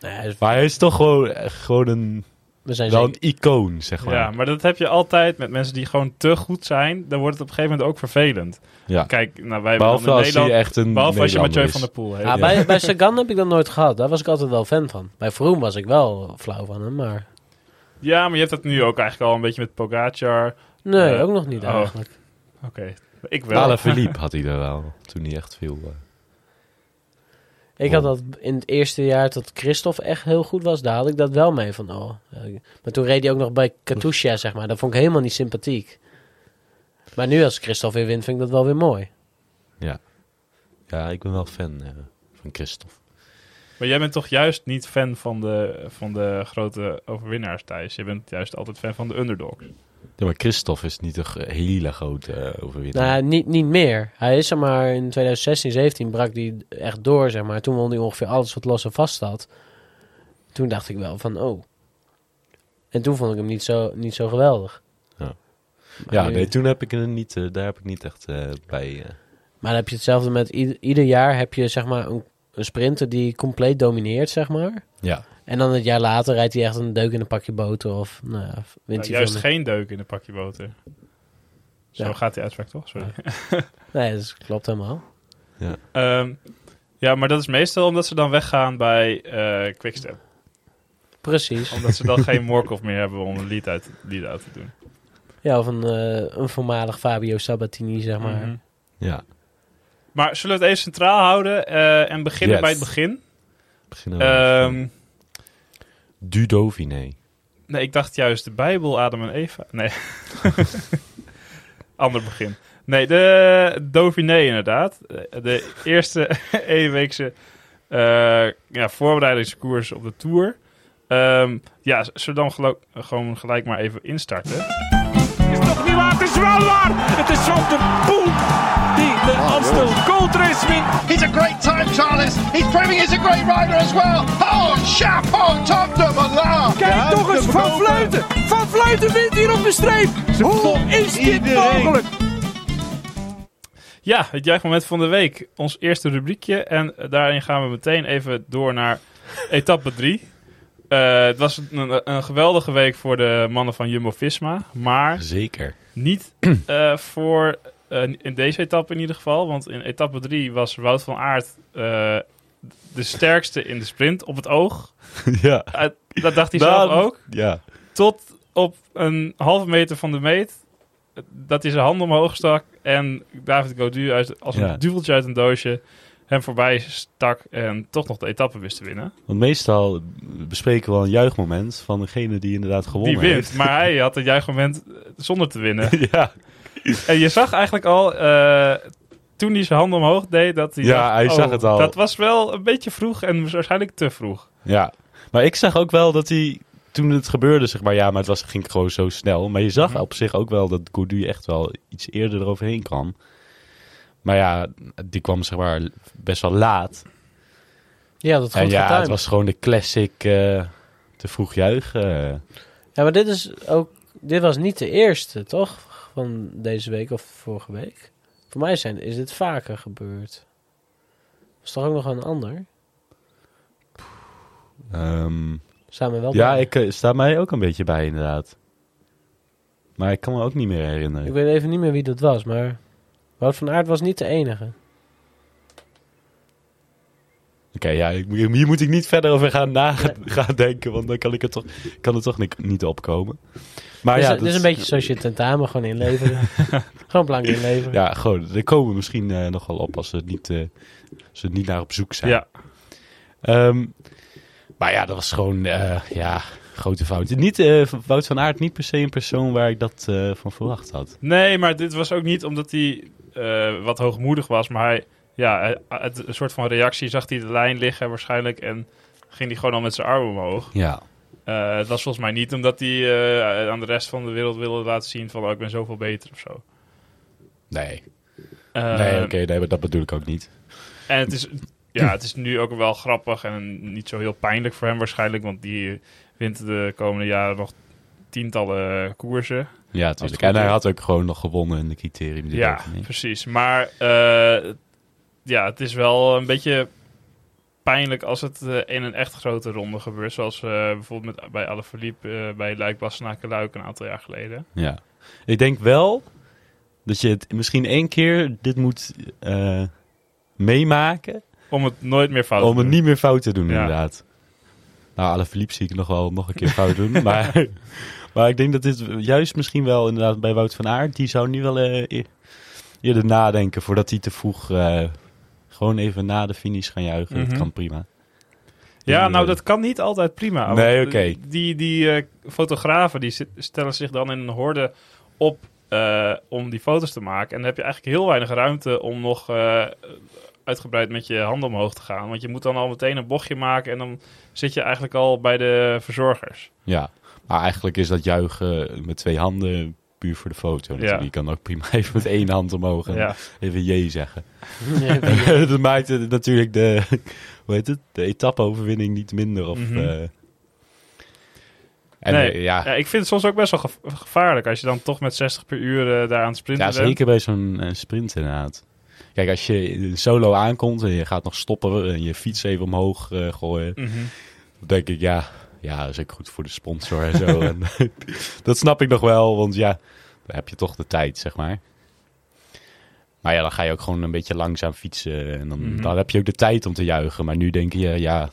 Speaker 3: Nee, hij is-
Speaker 2: Maar hij is toch gewoon, eh, gewoon een,
Speaker 3: we zijn
Speaker 2: wel
Speaker 3: zeker-
Speaker 2: een icoon, zeg maar.
Speaker 1: Ja, maar dat heb je altijd met mensen die gewoon te goed zijn. Dan wordt het op een gegeven moment ook vervelend.
Speaker 2: Ja.
Speaker 1: Kijk, nou, wij hebben
Speaker 2: Behalve
Speaker 1: dan in
Speaker 2: als hij
Speaker 1: Nederland...
Speaker 2: echt een
Speaker 1: Behalve als je
Speaker 2: Nederlander
Speaker 1: Mathieu
Speaker 2: is.
Speaker 1: van der Poel heet.
Speaker 3: Ja, Ah, Bij, bij Sagan heb ik dat nooit gehad. Daar was ik altijd wel fan van. Bij Vroom was ik wel flauw van hem, maar...
Speaker 1: Ja, maar je hebt dat nu ook eigenlijk al een beetje met Pogacar. Oké,
Speaker 3: Nee,
Speaker 1: Eh,
Speaker 3: ook nog niet
Speaker 1: oh.
Speaker 3: eigenlijk.
Speaker 1: ik wel.
Speaker 2: Alain Philippe had hij er wel, toen hij echt veel... eh,
Speaker 3: Ik
Speaker 2: Waarom?
Speaker 3: had dat in het eerste jaar dat Christophe echt heel goed was, daar had ik dat wel mee van. Oh. eh, Maar toen reed hij ook nog bij Katusha, zeg maar. Dat vond ik helemaal niet sympathiek. Maar nu als Christophe weer wint, vind ik dat wel weer mooi.
Speaker 2: ja, ik ben wel fan eh, van Christophe.
Speaker 1: Maar jij bent toch juist niet fan van de, van de grote overwinnaars, Thijs? Je bent juist altijd fan van de underdogs.
Speaker 2: Ja, maar Christophe is niet een g- hele grote eh, overwinnaar.
Speaker 3: Nou, ja, niet, niet meer. Hij is zeg maar in 2016, 17 brak hij echt door, zeg maar. Toen won hij ongeveer alles wat los en vast had. Toen dacht ik wel van, oh. En toen vond ik hem niet zo, niet zo geweldig.
Speaker 2: Ja.
Speaker 3: Maar
Speaker 2: ja,
Speaker 3: nu-
Speaker 2: nee, toen heb ik er niet, eh, daar heb ik niet echt eh, bij... eh,
Speaker 3: Maar dan heb je hetzelfde met ieder, ieder jaar heb je zeg maar een, een sprinter die compleet domineert, zeg maar.
Speaker 2: ja,
Speaker 3: En dan het jaar later rijdt hij echt een deuk in een pakje boter of nou, ja, wint hij
Speaker 1: Nou,
Speaker 3: veel
Speaker 1: juist
Speaker 3: meer.
Speaker 1: geen deuk in een pakje boter. Zo
Speaker 3: Ja.
Speaker 1: gaat die uitspraak toch? Sorry.
Speaker 3: Nee, dat klopt helemaal.
Speaker 1: Ehm, ja, maar dat is meestal omdat ze dan weggaan bij eh, Quickstep.
Speaker 3: Precies.
Speaker 1: Omdat ze dan geen Morkov meer hebben om een lied uit, lied uit te doen.
Speaker 3: Ja, of een, eh, een voormalig Fabio Sabatini, zeg maar.
Speaker 1: Mhm.
Speaker 2: ja.
Speaker 1: Maar zullen we het even centraal houden eh, en beginnen
Speaker 2: Yes.
Speaker 1: bij het begin?
Speaker 2: Beginnen we met,
Speaker 1: Ehm,
Speaker 2: eh, Du Dauphiné.
Speaker 1: nee, ik dacht juist de Bijbel, Adam en Eva. Nee. Ander begin. Nee, de Dauphiné inderdaad. Eh, De eerste eenweekse eh ja, voorbereidingskoers op de Tour. Ehm, ja, z- zullen we dan gelo- gewoon gelijk maar even instarten?
Speaker 4: is toch niet waar? Het is wel waar! Het is Van de Poel die de Amstel Gold Race wint.
Speaker 5: He's a great time, Charles. He's proving he's a great rider as well. Oh, chapeau, Tom de Moulin.
Speaker 4: Kijk toch eens, Van Vleuten! Van Vleuten wint hier op de streep! Hoe is dit mogelijk?
Speaker 1: Ja, het juichmoment van de week. Ons eerste rubriekje. En eh, daarin gaan we meteen even door naar etappe 3. het was een, een geweldige week voor de mannen van Jumbo-Visma. Maar
Speaker 2: Zeker.
Speaker 1: niet eh, voor eh, in deze etappe in ieder geval. Want in etappe 3 was Wout van Aert eh, de sterkste in de sprint op het oog.
Speaker 2: ja.
Speaker 1: Eh, dat dacht hij
Speaker 2: Nou,
Speaker 1: zelf ook.
Speaker 2: Ja.
Speaker 1: Tot op een halve meter van de meet. Dat hij zijn hand omhoog stak. En David Godu uit, als
Speaker 2: Ja.
Speaker 1: een duveltje uit een doosje hem voorbij stak. En toch nog de etappe wist te winnen.
Speaker 2: Want meestal bespreken we wel een juichmoment van degene die inderdaad gewonnen
Speaker 1: die wint.
Speaker 2: heeft.
Speaker 1: Maar hij had het juichmoment eh, zonder te winnen.
Speaker 2: ja,
Speaker 1: en je zag eigenlijk al... eh, toen hij zijn hand omhoog deed, dat hij.
Speaker 2: Ja,
Speaker 1: dacht,
Speaker 2: hij
Speaker 1: oh,
Speaker 2: zag het al.
Speaker 1: Dat was wel een beetje vroeg en waarschijnlijk te vroeg.
Speaker 2: Ja, maar ik zag ook wel dat hij toen het gebeurde, zeg maar, ja, maar het was, ging gewoon zo snel. Maar je zag
Speaker 1: Mhm.
Speaker 2: op zich ook wel dat Goudu echt wel iets eerder eroverheen kwam. Maar ja, die kwam zeg maar best wel laat.
Speaker 3: Ja, dat
Speaker 2: en
Speaker 3: goed
Speaker 2: ja,
Speaker 3: getimed.
Speaker 2: het was gewoon de classic eh, te vroeg juichen. eh.
Speaker 3: Ja, maar dit is ook... Dit was niet de eerste, toch? Van deze week of vorige week. Voor mij zijn, is dit vaker gebeurd. Was toch ook nog een ander?
Speaker 2: Ehm,
Speaker 3: Samen wel
Speaker 2: ja,
Speaker 3: bij.
Speaker 2: ik eh, sta mij ook een beetje bij inderdaad. Maar ik kan me ook niet meer herinneren.
Speaker 3: Ik weet even niet meer wie dat was, maar... Wout van Aert was niet de enige.
Speaker 2: Ah, Oké, ja, ik- hier moet ik niet verder over gaan, na, gaan denken, want dan kan ik het toch, kan het toch niet, niet opkomen. Maar
Speaker 3: Dus
Speaker 2: ja,
Speaker 3: het is
Speaker 2: dat-
Speaker 3: een beetje zoals je tentamen gewoon inleveren. gewoon blank inleveren.
Speaker 2: Ja, gewoon, daar komen we misschien eh, nog wel op als ze, het niet, eh, als ze het niet naar op zoek zijn.
Speaker 1: Ja.
Speaker 2: Ehm, maar ja, dat was gewoon, eh, ja, grote fout. Niet, eh, Wout van Aert, niet per se een persoon waar ik dat eh, van verwacht had.
Speaker 1: Nee, maar dit was ook niet omdat hij eh, wat hoogmoedig was. Maar hij, ja, hij- uit een soort van reactie zag hij de lijn liggen waarschijnlijk. En ging hij gewoon al met zijn arm omhoog.
Speaker 2: Ja,
Speaker 1: Eh, het was volgens mij niet omdat hij eh, aan de rest van de wereld wilde laten zien van... Oh, ik ben zoveel beter of zo.
Speaker 2: nee.
Speaker 1: Eh, Ehm,
Speaker 2: nee, oké, nee, maar dat bedoel ik ook niet.
Speaker 1: En het is Ja, het is nu ook wel grappig en niet zo heel pijnlijk voor hem waarschijnlijk. Want die wint de komende jaren nog tientallen koersen.
Speaker 2: Ja,
Speaker 1: het
Speaker 2: tuurlijk.
Speaker 1: goed
Speaker 2: En hij
Speaker 1: is.
Speaker 2: had ook gewoon nog gewonnen in de criterium. die
Speaker 1: Ja,
Speaker 2: rekening.
Speaker 1: precies. Maar eh, ja, het is wel een beetje pijnlijk als het eh, in een echt grote ronde gebeurt. Zoals eh, bijvoorbeeld met, bij Alaphilippe eh bij Luik Luik een aantal jaar geleden.
Speaker 2: Ja. Ik denk wel dat je het misschien één keer dit moet eh, meemaken.
Speaker 1: Om het nooit meer fout
Speaker 2: om
Speaker 1: te
Speaker 2: het
Speaker 1: doen.
Speaker 2: niet meer fout te doen,
Speaker 1: Ja.
Speaker 2: inderdaad. Nou, Alaphilippe zie ik nog wel nog een keer fout doen. maar, maar ik denk dat dit juist misschien wel inderdaad bij Wout van Aert... die zou nu wel eh, eer- eerder nadenken voordat hij te vroeg... eh, gewoon even na de finish gaan juichen.
Speaker 1: Mhm.
Speaker 2: Dat kan prima.
Speaker 1: Ja,
Speaker 2: Die,
Speaker 1: nou
Speaker 2: eh,
Speaker 1: dat kan niet altijd prima. want
Speaker 2: Nee, oké.
Speaker 1: Die, die eh, fotografen die zit- stellen zich dan in een horde op eh, om die foto's te maken. En dan heb je eigenlijk heel weinig ruimte om nog eh, uitgebreid met je handen omhoog te gaan. Want je moet dan al meteen een bochtje maken en dan zit je eigenlijk al bij de verzorgers.
Speaker 2: Ja, maar eigenlijk is dat juichen met twee handen puur voor de foto. natuurlijk.
Speaker 1: Ja.
Speaker 2: Je kan ook prima even met één hand omhoog en
Speaker 1: Ja,
Speaker 2: even jee zeggen.
Speaker 3: Ja,
Speaker 2: dat maakt het natuurlijk de, hoe heet het, de etappe-overwinning niet minder. Of,
Speaker 1: Mhm.
Speaker 2: eh. en
Speaker 1: Nee,
Speaker 2: eh, ja,
Speaker 1: ja, ik vind het soms ook best wel geva- gevaarlijk als je dan toch met 60 per uur eh, daar aan het sprinten
Speaker 2: ja,
Speaker 1: bent.
Speaker 2: zeker bij zo'n eh, sprint inderdaad. Kijk, als je in een solo aankomt en je gaat nog stoppen en je fiets even omhoog eh, gooien,
Speaker 1: Mhm.
Speaker 2: dan denk ik, ja, ja, dat is ook goed voor de sponsor en zo. en, dat snap ik nog wel, want ja, dan heb je toch de tijd, zeg maar. Maar ja, dan ga je ook gewoon een beetje langzaam fietsen. En dan,
Speaker 1: Mhm.
Speaker 2: dan heb je ook de tijd om te juichen. Maar nu denk je, ja,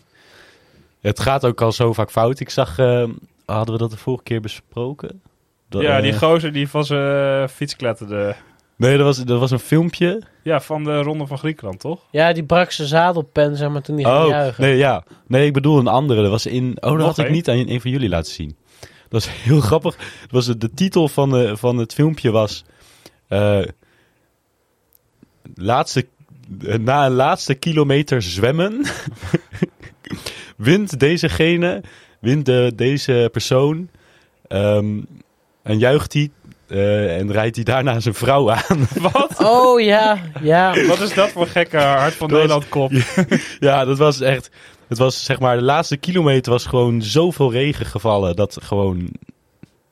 Speaker 2: het gaat ook al zo vaak fout. Ik zag, eh, hadden we dat de vorige keer besproken? Dat,
Speaker 1: Ja,
Speaker 2: eh,
Speaker 1: die gozer die van zijn eh, fiets kletterde.
Speaker 2: Nee, dat was, dat was een filmpje.
Speaker 1: Ja, van de Ronde van Griekenland, toch?
Speaker 3: ja, die brak zijn zadelpen, zeg maar, toen die ging
Speaker 2: Oh,
Speaker 3: juichen.
Speaker 2: nee, ja. Nee, ik bedoel een andere. Dat was in. Oh, dat
Speaker 1: Nog
Speaker 2: had ik
Speaker 1: één?
Speaker 2: niet aan een van jullie laten zien. Dat was heel grappig. Dat was de, de titel van, de, van het filmpje was. eh, laatste, eh, na een laatste kilometer zwemmen. wint dezegene. Wint de, deze persoon. ehm, en juicht hij. eh, en rijdt hij daarna zijn vrouw aan.
Speaker 1: Wat?
Speaker 3: Oh, ja, ja.
Speaker 1: Wat is dat voor gekke hart van
Speaker 2: Dat is-
Speaker 1: Nederland kop?
Speaker 2: Ja, dat was echt. Het was zeg maar de laatste kilometer was gewoon zoveel regen gevallen dat gewoon.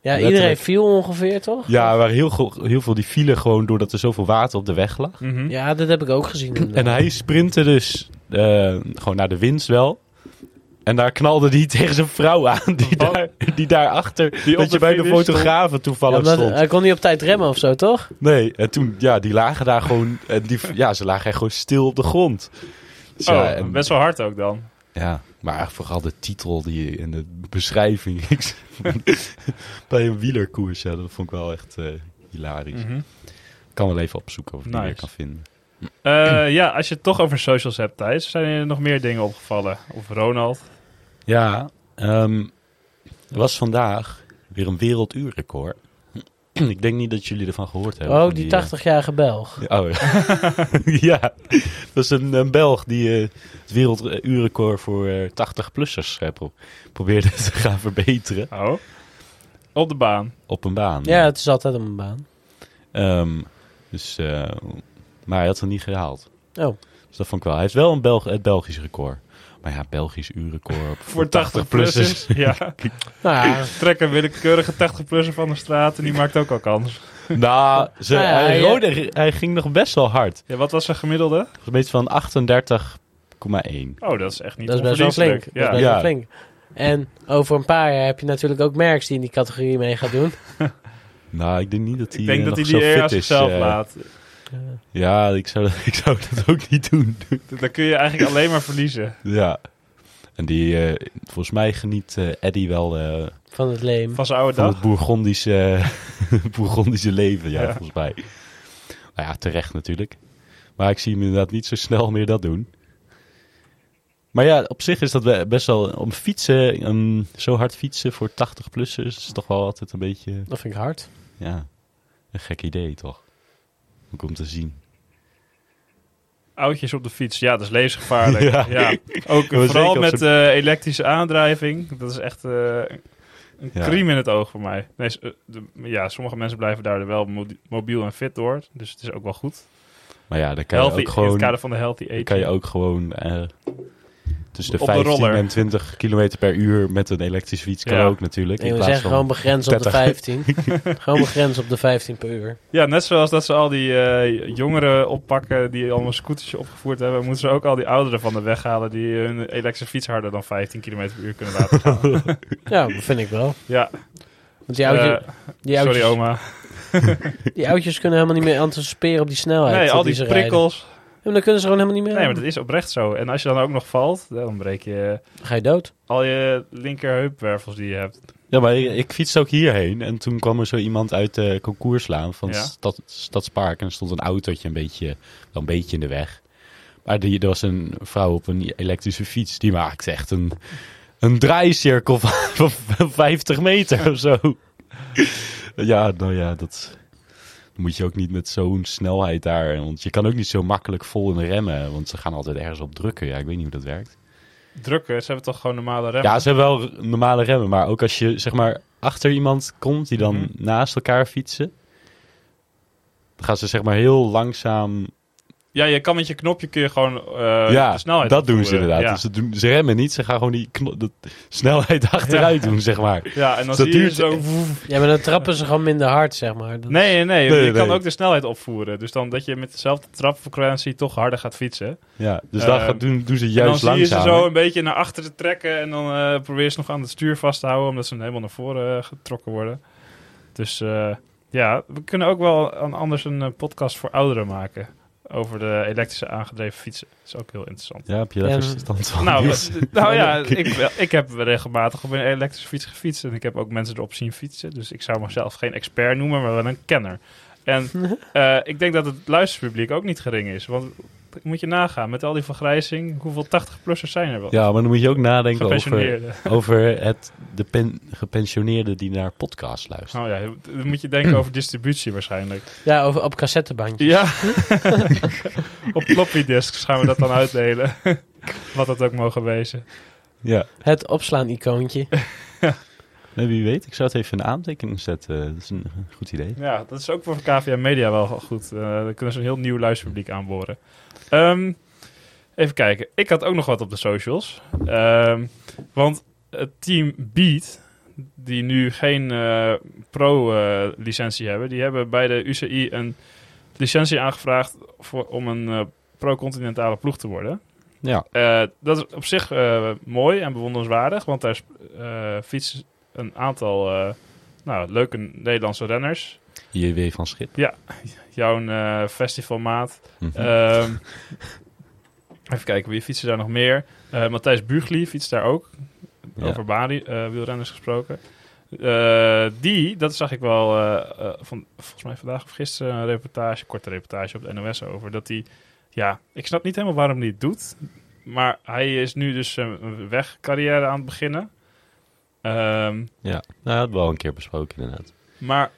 Speaker 3: Ja, iedereen
Speaker 2: Letterlijk.
Speaker 3: viel ongeveer, toch?
Speaker 2: Ja, er waren heel, go- heel veel die vielen gewoon doordat er zoveel water op de weg lag.
Speaker 1: Mhm.
Speaker 3: Ja, dat heb ik ook gezien. inderdaad.
Speaker 2: En hij sprintte dus eh, gewoon naar de winst wel. En daar knalde hij tegen zijn vrouw aan, die,
Speaker 1: Wat?
Speaker 2: daar, die daarachter,
Speaker 1: Oh. Die op
Speaker 2: dat je
Speaker 1: de
Speaker 2: bij de
Speaker 1: finish
Speaker 2: fotografen
Speaker 3: Ja,
Speaker 2: toevallig
Speaker 3: omdat-
Speaker 1: eh,
Speaker 2: stond.
Speaker 3: hij kon niet op tijd remmen of zo, toch?
Speaker 2: Nee, en toen, ja, die lagen daar gewoon, en die, ja, ze lagen echt gewoon stil op de grond. Dus ja,
Speaker 1: oh,
Speaker 2: en-
Speaker 1: best wel hard ook dan.
Speaker 2: Ja, maar vooral de titel die, en de beschrijving. Ik- Bij een wielerkoers, ja, dat vond ik wel echt eh, hilarisch.
Speaker 3: Mhm.
Speaker 1: Mhm.
Speaker 2: Ik kan wel even opzoeken of ik die
Speaker 1: Nice.
Speaker 2: weer kan vinden.
Speaker 1: Eh, ja, als je het toch over socials hebt, Thijs, zijn er nog meer dingen opgevallen? Of Ronald?
Speaker 2: Ja, ehm, er was vandaag weer een werelduurrecord. ik denk niet dat jullie ervan gehoord hebben.
Speaker 3: Oh,
Speaker 2: van
Speaker 3: die
Speaker 2: eh,
Speaker 3: 80-jarige Belg.
Speaker 2: Oh ja. ja, dat is een, een Belg die eh, het werelduurrecord voor eh, 80-plussers eh, pro- probeerde te gaan verbeteren
Speaker 1: Oh. Op de baan.
Speaker 2: op een baan.
Speaker 3: Ja, het is altijd op een baan.
Speaker 2: Ehm, dus, eh, maar hij had het niet gehaald.
Speaker 3: Oh.
Speaker 2: Dus dat vond ik wel. Hij heeft wel een Belg het Belgisch record. Maar ja, Belgisch uurrecord op-
Speaker 1: Voor 80-plussers. ja.
Speaker 3: Nou, ja,
Speaker 1: Trek een willekeurige 80-plusser van de straat en die maakt ook al kans.
Speaker 2: nou, ze,
Speaker 3: Nou ja,
Speaker 2: hij,
Speaker 3: hij-
Speaker 2: rode- hij ging nog best wel hard.
Speaker 1: Ja, wat was zijn gemiddelde?
Speaker 2: Een beetje van 38,1.
Speaker 1: Oh, dat is echt niet
Speaker 3: dat is best wel flink.
Speaker 1: onverdienstelijk.
Speaker 3: Dat is
Speaker 1: Ja.
Speaker 3: best
Speaker 2: Ja.
Speaker 3: wel flink. En over een paar jaar heb je natuurlijk ook merks die in die categorie mee gaat doen.
Speaker 2: Nou, ik denk niet dat hij
Speaker 1: Ik denk
Speaker 2: eh,
Speaker 1: dat hij
Speaker 2: nog
Speaker 1: die
Speaker 2: zo
Speaker 1: eer aan
Speaker 2: fit is.
Speaker 1: zichzelf
Speaker 2: eh.
Speaker 1: laat.
Speaker 2: Ja, ik zou, dat- ik zou dat ook niet doen.
Speaker 1: Dan kun je eigenlijk alleen maar verliezen.
Speaker 2: ja. En die, eh, volgens mij geniet eh Eddie wel eh,
Speaker 3: Van het leem.
Speaker 1: Van zijn oude
Speaker 2: Van
Speaker 1: dag.
Speaker 2: het Bourgondische, Bourgondische leven, ja,
Speaker 1: Ja.
Speaker 2: volgens mij. Nou ja, terecht natuurlijk. Maar ik zie hem inderdaad niet zo snel meer dat doen. Maar ja, op zich is dat we- best wel... Om fietsen, ehm, zo hard fietsen voor 80-plussers... is toch wel altijd een beetje...
Speaker 3: Dat vind ik hard.
Speaker 2: Ja, een gek idee toch? Ook om te zien.
Speaker 1: Oudjes op de fiets. Ja, dat is levensgevaarlijk.
Speaker 2: Ja.
Speaker 1: ja. Ook
Speaker 2: Maar
Speaker 1: vooral
Speaker 2: zeker op
Speaker 1: met eh, elektrische aandrijving. Dat is echt eh, een
Speaker 2: Ja.
Speaker 1: kriem in het oog voor mij. Nee, s- eh, de- ja, sommige mensen blijven daar wel mo- mobiel en fit door. Dus het is ook wel goed.
Speaker 2: Maar ja, dan kan
Speaker 1: Healthy,
Speaker 2: je ook
Speaker 1: in het
Speaker 2: gewoon,
Speaker 1: kader van de healthy
Speaker 2: dan
Speaker 1: age.
Speaker 2: kan je ook gewoon eh, tussen de
Speaker 1: Op de
Speaker 2: 15
Speaker 1: roller.
Speaker 2: en 20 kilometer per uur met een elektrische fiets kan
Speaker 1: Ja.
Speaker 2: ook natuurlijk.
Speaker 3: Nee,
Speaker 2: in
Speaker 3: we
Speaker 2: plaats
Speaker 3: zeggen
Speaker 2: van
Speaker 3: gewoon begrens op de
Speaker 2: 30.
Speaker 3: 15. gewoon begrens op de 15 per uur.
Speaker 1: Ja, net zoals dat ze al die eh, jongeren oppakken die allemaal scootersje opgevoerd hebben, moeten ze ook al die ouderen van de weg halen die hun elektrische fiets harder dan 15 km per uur kunnen laten gaan.
Speaker 3: Ja, dat vind ik wel.
Speaker 1: ja,
Speaker 3: Want die, oudje,
Speaker 1: eh,
Speaker 3: die, oudjes, Oh,
Speaker 1: sorry oma.
Speaker 3: die oudjes kunnen helemaal niet meer anticiperen op die snelheid.
Speaker 1: Nee,
Speaker 3: eh,
Speaker 1: al die
Speaker 3: ze rijden.
Speaker 1: prikkels.
Speaker 3: Ja, maar dan kunnen ze gewoon helemaal niet meer.
Speaker 1: Nee, maar dat is oprecht zo. En als je dan ook nog valt, dan breek je
Speaker 3: Dan Ga je dood?
Speaker 1: al je linkerheupwervels die je hebt.
Speaker 2: Ja, maar ik, ik fietste ook hierheen en toen kwam er zo iemand uit de concourslaan van
Speaker 1: Ja.
Speaker 2: Stad, Stadspark en er stond een autootje een beetje, wel een beetje in de weg. Maar die, er was een vrouw op een elektrische fiets, die maakte echt een, een draaicirkel van, van 50 meter of zo. ja, nou ja, dat moet je ook niet met zo'n snelheid daar, want je kan ook niet zo makkelijk vol in remmen, want ze gaan altijd ergens op drukken. Ja, ik weet niet hoe dat werkt.
Speaker 1: Drukken, ze hebben toch gewoon normale remmen?
Speaker 2: Ja, ze hebben wel r- normale remmen, maar ook als je zeg maar achter iemand komt die dan
Speaker 1: Mhm.
Speaker 2: naast elkaar fietsen, dan gaan ze zeg maar heel langzaam.
Speaker 1: Ja, je kan met je knopje kun je gewoon eh,
Speaker 2: ja,
Speaker 1: de snelheid
Speaker 2: dat doen ze
Speaker 1: opvoeren.
Speaker 2: inderdaad.
Speaker 1: Ja,
Speaker 2: Dus ze, doen, ze remmen niet, ze gaan gewoon die kno- dat snelheid achteruit doen, zeg maar.
Speaker 1: ja en dan
Speaker 2: dat
Speaker 1: zie je
Speaker 2: duurt-
Speaker 1: zo...
Speaker 3: Ja, maar dan trappen ze gewoon minder hard, zeg maar. Dat-
Speaker 1: Nee, nee, nee,
Speaker 2: Nee,
Speaker 1: je
Speaker 2: nee.
Speaker 1: kan ook de snelheid opvoeren. Dus dan dat je met dezelfde trapfrequentie toch harder gaat fietsen.
Speaker 2: Ja, dus
Speaker 1: Eh,
Speaker 2: dat gaan- doen, doen ze
Speaker 1: en dan
Speaker 2: juist
Speaker 1: zie je ze
Speaker 2: langzaam.
Speaker 1: zo een beetje naar achteren trekken en dan eh probeer je ze nog aan het stuur vast te houden, omdat ze helemaal naar voren eh, getrokken worden. Dus eh, ja, we kunnen ook wel aan anders een eh, podcast voor ouderen maken over de elektrische aangedreven fietsen. Dat is ook heel interessant.
Speaker 2: Ja, heb je daar
Speaker 3: Ja,
Speaker 2: verstand van?
Speaker 1: Nou,
Speaker 2: Dus-
Speaker 1: eh, nou ja, ik, wel- ik heb regelmatig op een elektrische fiets gefietst. En ik heb ook mensen erop zien fietsen. Dus ik zou mezelf geen expert noemen, maar wel een kenner. En eh, ik denk dat het luisterpubliek ook niet gering is. Want moet je nagaan, met al die vergrijzing, hoeveel 80-plussers zijn er wel?
Speaker 2: ja, maar dan moet je ook nadenken over,
Speaker 1: Gepensioneerden.
Speaker 2: over het, de pen, gepensioneerde die naar podcasts luistert.
Speaker 1: Oh ja, dan moet je denken over distributie waarschijnlijk.
Speaker 3: Ja, over, op cassettebandje.
Speaker 1: Ja. Op floppy disks gaan we dat dan uitdelen. Wat dat ook mogen wezen.
Speaker 2: Ja.
Speaker 3: Het opslaan-icoontje.
Speaker 2: Nee, wie weet, ik zou het even in aantekening zetten. Dat is een goed idee.
Speaker 1: Ja, dat is ook voor KVM Media wel goed. Eh dan kunnen ze een heel nieuw luisterpubliek aanboren. Ehm, even kijken. Ik had ook nog wat op de socials. Ehm, want het team Beat, die nu geen eh, pro-licentie hebben... die hebben bij de UCI een licentie aangevraagd... Voor, om een eh, pro-continentale ploeg te worden.
Speaker 2: Ja,
Speaker 1: Eh, dat is op zich eh, mooi en bewonderenswaardig, want daar eh, fietsen een aantal eh, nou, leuke Nederlandse renners.
Speaker 2: JW van Schip.
Speaker 1: Jouw eh, festivalmaat.
Speaker 2: Mhm.
Speaker 1: Ehm, even kijken, wie fietsen daar nog meer? Eh, Matthijs Bugli fietst daar ook.
Speaker 2: Ja.
Speaker 1: Over Bari, eh, wielrenners gesproken. Eh, die, dat zag ik wel eh, eh, van, volgens mij vandaag of gisteren een reportage, korte reportage op de NOS over. Dat hij, ja, ik snap niet helemaal waarom hij het doet. Maar hij is nu dus eh, een wegcarrière aan het beginnen. Ehm,
Speaker 2: Ja, nou, dat hebben we al een keer besproken inderdaad.
Speaker 1: maar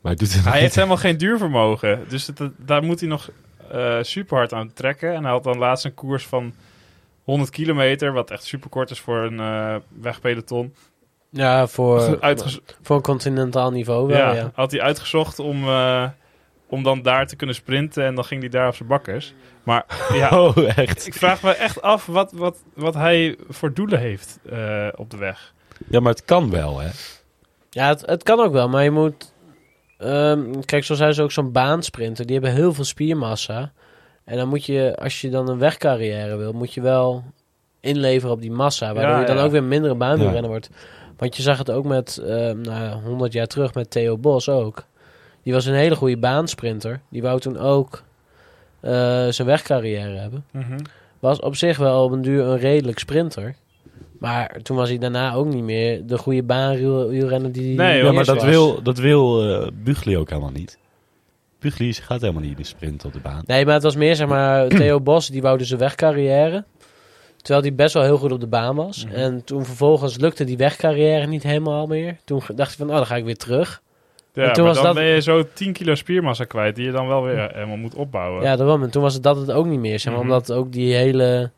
Speaker 2: Maar het doet het
Speaker 1: hij
Speaker 2: niet.
Speaker 1: heeft helemaal geen duurvermogen. Dus het- het- daar moet hij nog eh, super hard aan trekken. En hij had dan laatst een koers van 100 kilometer, wat echt super kort is voor een eh, wegpeloton.
Speaker 3: Ja, voor,
Speaker 1: Uitges-
Speaker 3: voor een continentaal niveau wel,
Speaker 1: ja,
Speaker 3: ja.
Speaker 1: Had hij uitgezocht om, eh, om dan daar te kunnen sprinten en dan ging hij daar op zijn bakkers. Maar ja,
Speaker 2: Oh, echt.
Speaker 1: ik vraag me echt af wat, wat, wat hij voor doelen heeft eh, op de weg.
Speaker 2: Ja, maar het kan wel, hè?
Speaker 3: Ja, het, het kan ook wel, maar je moet... ehm, kijk, zo zijn ze ook zo'n baansprinter. Die hebben heel veel spiermassa. En dan moet je, als je dan een wegcarrière wil, moet je wel inleveren op die massa. Waardoor
Speaker 1: Ja,
Speaker 3: je dan
Speaker 1: ja.
Speaker 3: ook weer mindere baanwielrenner
Speaker 2: Ja.
Speaker 3: wordt. Want je zag het ook met, ehm nou, ja, 100 jaar terug met Theo Bos ook. Die was een hele goede baansprinter. Die wou toen ook eh, zijn wegcarrière hebben.
Speaker 1: Mhm.
Speaker 3: Was op zich wel op een duur een redelijk sprinter. Maar toen was hij daarna ook niet meer de goede baanwielrenner die hij
Speaker 1: Nee,
Speaker 2: Ja,
Speaker 1: joh,
Speaker 2: maar
Speaker 3: eerst
Speaker 2: dat
Speaker 3: was.
Speaker 2: wil, dat wil eh, Bugli ook helemaal niet. Bugli is- gaat helemaal niet in de sprint op de baan.
Speaker 3: Nee, maar het was meer zeg maar Theo Bos, die wou dus een wegcarrière. Terwijl hij best wel heel goed op de baan was.
Speaker 1: Mhm.
Speaker 3: En toen vervolgens lukte die wegcarrière niet helemaal meer. Toen ge- dacht hij van, oh, dan ga ik weer terug.
Speaker 1: Ja,
Speaker 3: En
Speaker 1: maar
Speaker 3: toen
Speaker 1: dan
Speaker 3: was dat-
Speaker 1: ben je zo 10 kilo spiermassa kwijt die je dan wel weer eh, helemaal moet opbouwen.
Speaker 3: Ja, daarom. En toen was het dat het ook niet meer, zeg maar.
Speaker 1: Mhm.
Speaker 3: Omdat ook die hele...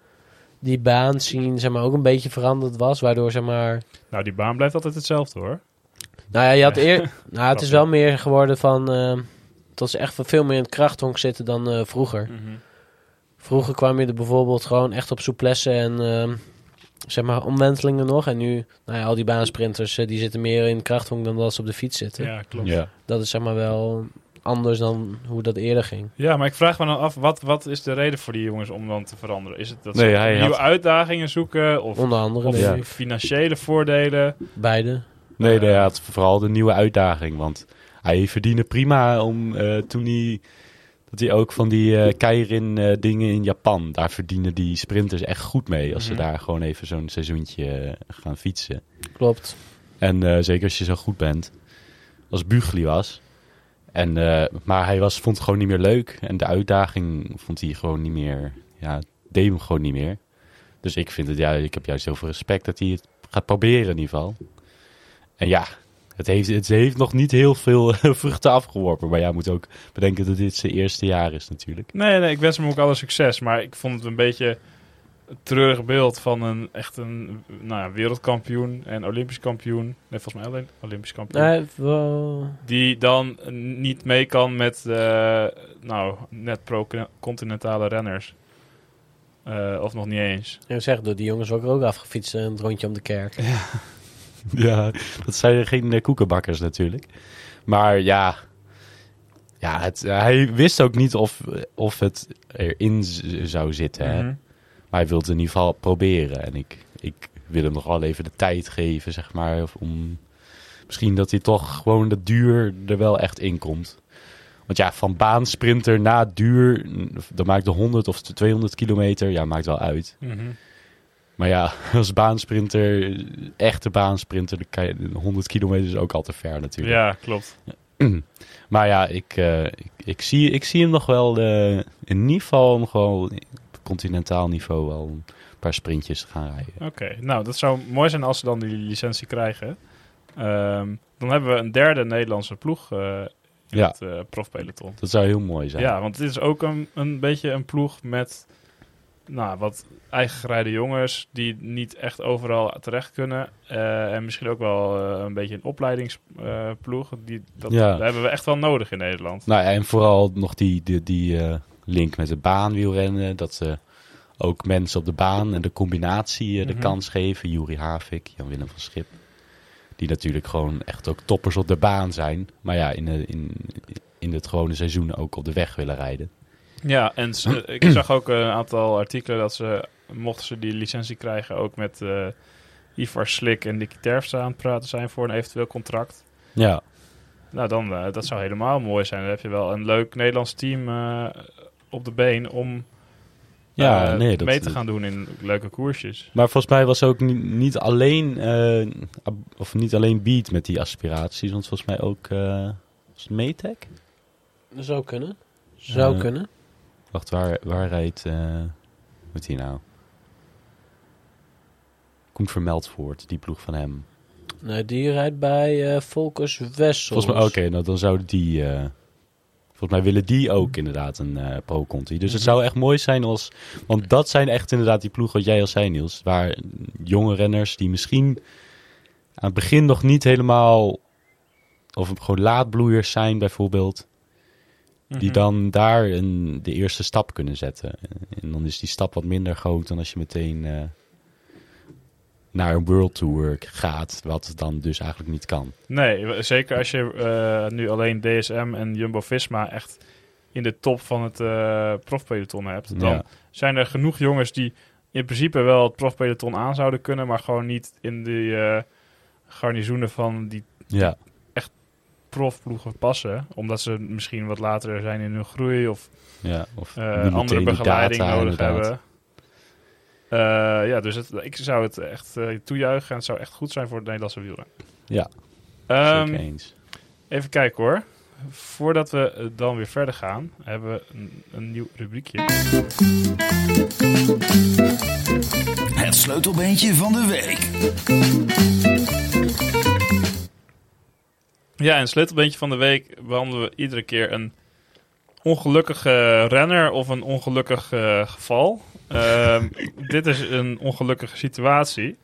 Speaker 3: Die baan zien, zeg maar, ook een beetje veranderd was. Waardoor, zeg maar...
Speaker 1: Nou, die baan blijft altijd hetzelfde hoor.
Speaker 3: Nou ja, je had eer... Nou, het is wel meer geworden van... ehm, Dat ze echt veel meer in het krachthonk zitten dan eh, vroeger.
Speaker 1: Mhm.
Speaker 3: Vroeger kwam je er bijvoorbeeld gewoon echt op souplesse en ehm, zeg maar omwentelingen nog. En nu, nou ja, al die baansprinters eh, die zitten meer in het krachthonk dan dat ze op de fiets zitten.
Speaker 1: Ja, klopt. Ja.
Speaker 2: Ja.
Speaker 3: Dat is zeg maar wel anders dan hoe dat eerder ging.
Speaker 1: maar ik vraag me dan af, wat, wat is de reden voor die jongens om dan te veranderen? Is het dat
Speaker 2: Nee,
Speaker 1: ze
Speaker 2: hij
Speaker 1: nieuwe
Speaker 2: had-
Speaker 1: uitdagingen zoeken? Of,
Speaker 3: Onder andere,
Speaker 1: of
Speaker 3: denk
Speaker 2: Ja.
Speaker 3: ik.
Speaker 1: financiële voordelen?
Speaker 3: Beide.
Speaker 1: Eh.
Speaker 2: Nee, nee, ja, het, vooral de nieuwe uitdaging. Want hij verdiende prima om eh, toen hij. Dat hij ook van die eh Keirin-dingen in Japan. Daar verdienen die sprinters echt goed mee. Als
Speaker 1: Mhm.
Speaker 2: ze daar gewoon even zo'n seizoentje eh, gaan fietsen.
Speaker 3: Klopt.
Speaker 2: En eh, zeker als je zo goed bent. Als Bugli was. En, eh, maar hij was, vond het gewoon niet meer leuk. En de uitdaging vond hij gewoon niet meer. Ja, deed hem gewoon niet meer. Dus ik vind het, ja, ik heb juist heel veel respect dat hij het gaat proberen in ieder geval. En ja, het heeft, het heeft nog niet heel veel vruchten afgeworpen. Maar ja, je moet ook bedenken dat dit zijn eerste jaar is natuurlijk.
Speaker 1: Nee, nee, ik wens hem ook alle succes. Maar ik vond het een beetje een treurig beeld van een echt een nou ja, wereldkampioen en olympisch kampioen. Nee, volgens mij alleen olympisch kampioen.
Speaker 3: Nee, Nou, eh, wel...
Speaker 1: Die dan eh, niet mee kan met eh, nou, net pro-continentale renners. Eh, of nog niet eens.
Speaker 3: Ik zeg, door die jongens ook ook afgefietst en het rondje om de kerk.
Speaker 2: Ja, dat zijn geen eh, koekenbakkers natuurlijk. Maar ja, ja het, eh, hij wist ook niet of, of het erin z- zou zitten. hè.
Speaker 1: Mhm.
Speaker 2: Maar hij wilde het in ieder geval proberen. En ik, ik wil hem nog wel even de tijd geven, zeg maar. of Om, misschien dat hij toch gewoon de duur er wel echt in komt. Want ja, van baansprinter na duur, dat maakt de 100 of de 200 kilometer, ja, maakt wel uit.
Speaker 1: Mhm.
Speaker 2: Maar ja, als baansprinter, echte baansprinter, dan kan je- 100 kilometer is ook al te ver natuurlijk.
Speaker 1: Ja, klopt.
Speaker 2: Maar ja, ik, eh, ik, ik, zie, ik zie hem nog wel eh, in ieder geval nog wel op continentaal niveau wel een paar sprintjes gaan rijden.
Speaker 1: Oké, nou dat zou mooi zijn als ze dan die licentie krijgen. Ehm, dan hebben we een derde Nederlandse ploeg eh, in
Speaker 2: Ja.
Speaker 1: het eh, profpeloton.
Speaker 2: Dat zou heel mooi zijn.
Speaker 1: Ja, want dit is ook een, een beetje een ploeg met nou, wat eigen gerijde jongens die niet echt overal terecht kunnen. Eh, en misschien ook wel eh, een beetje een opleidingsploeg. eh, die, dat,
Speaker 2: Ja.
Speaker 1: dat hebben we echt wel nodig in Nederland.
Speaker 2: Nou ja, en vooral nog die, die, die eh, link met de baanwielrennen. Dat ze ook mensen op de baan en de combinatie eh, de
Speaker 1: Mhm.
Speaker 2: kans geven. Juri Havik, Jan-Willem van Schip. Die natuurlijk gewoon echt ook toppers op de baan zijn. Maar ja, in, de- in, in het gewone seizoen ook op de weg willen rijden.
Speaker 1: Ja, en ze- eh, ik zag ook een aantal artikelen dat ze, mochten ze die licentie krijgen, ook met eh, Ivar Slik en Nicky Terpstra aan het praten zijn voor een eventueel contract.
Speaker 2: Ja,
Speaker 1: Nou, dan, eh, dat zou helemaal mooi zijn. Dan heb je wel een leuk Nederlands team eh, op de been om
Speaker 2: ja
Speaker 1: eh,
Speaker 2: nee. Dat,
Speaker 1: mee te gaan doen in leuke koersjes.
Speaker 2: Maar volgens mij was ook ni- niet alleen, eh, ab- of niet alleen Beat met die aspiraties. Want volgens mij ook eh was het Maytag?
Speaker 3: Dat zou kunnen. Zou
Speaker 2: Ja.
Speaker 3: kunnen.
Speaker 2: Wacht, waar, waar rijdt... eh wat hier nou? Komt vermeld voort, die ploeg van hem.
Speaker 3: Nee, die rijdt bij eh Volkers Wessels.
Speaker 2: Volgens mij, oké, nou dan zou die... eh, volgens mij willen die ook inderdaad een eh, pro-conti. Dus het zou echt mooi zijn als... Want dat zijn echt inderdaad die ploegen, wat jij al zei Niels. Waar jonge renners die misschien aan het begin nog niet helemaal... Of gewoon laadbloeiers zijn bijvoorbeeld. Die
Speaker 1: Mhm.
Speaker 2: dan daar een, de eerste stap kunnen zetten. En dan is die stap wat minder groot dan als je meteen eh, naar een World Tour gaat. Wat dan dus eigenlijk niet kan.
Speaker 1: Nee, w- zeker als je eh, nu alleen DSM en Jumbo-Visma echt in de top van het eh profpeloton hebt. Dan
Speaker 2: Ja.
Speaker 1: zijn er genoeg jongens die in principe wel het profpeloton aan zouden kunnen, maar gewoon niet in de eh, garnizoenen van die
Speaker 2: Ja,
Speaker 1: profploegen passen. Omdat ze misschien wat later zijn in hun groei of
Speaker 2: ja. Of
Speaker 1: eh,
Speaker 2: niet meteen
Speaker 1: andere
Speaker 2: die
Speaker 1: begeleiding
Speaker 2: data,
Speaker 1: nodig
Speaker 2: inderdaad.
Speaker 1: hebben. Eh, ja, dus het, ik zou het echt eh, toejuichen en het zou echt goed zijn voor het Nederlandse wielrennen.
Speaker 2: Ja.
Speaker 1: Ehm,
Speaker 2: Zeker eens.
Speaker 1: even kijken hoor. Voordat we eh, dan weer verder gaan, hebben we een, een nieuw rubriekje.
Speaker 6: Het sleutelbeentje van de week.
Speaker 1: Ja, en sleutelbeentje van de week behandelen we iedere keer een ongelukkige renner of een ongelukkig eh, geval. Ehm, dit is een ongelukkige situatie,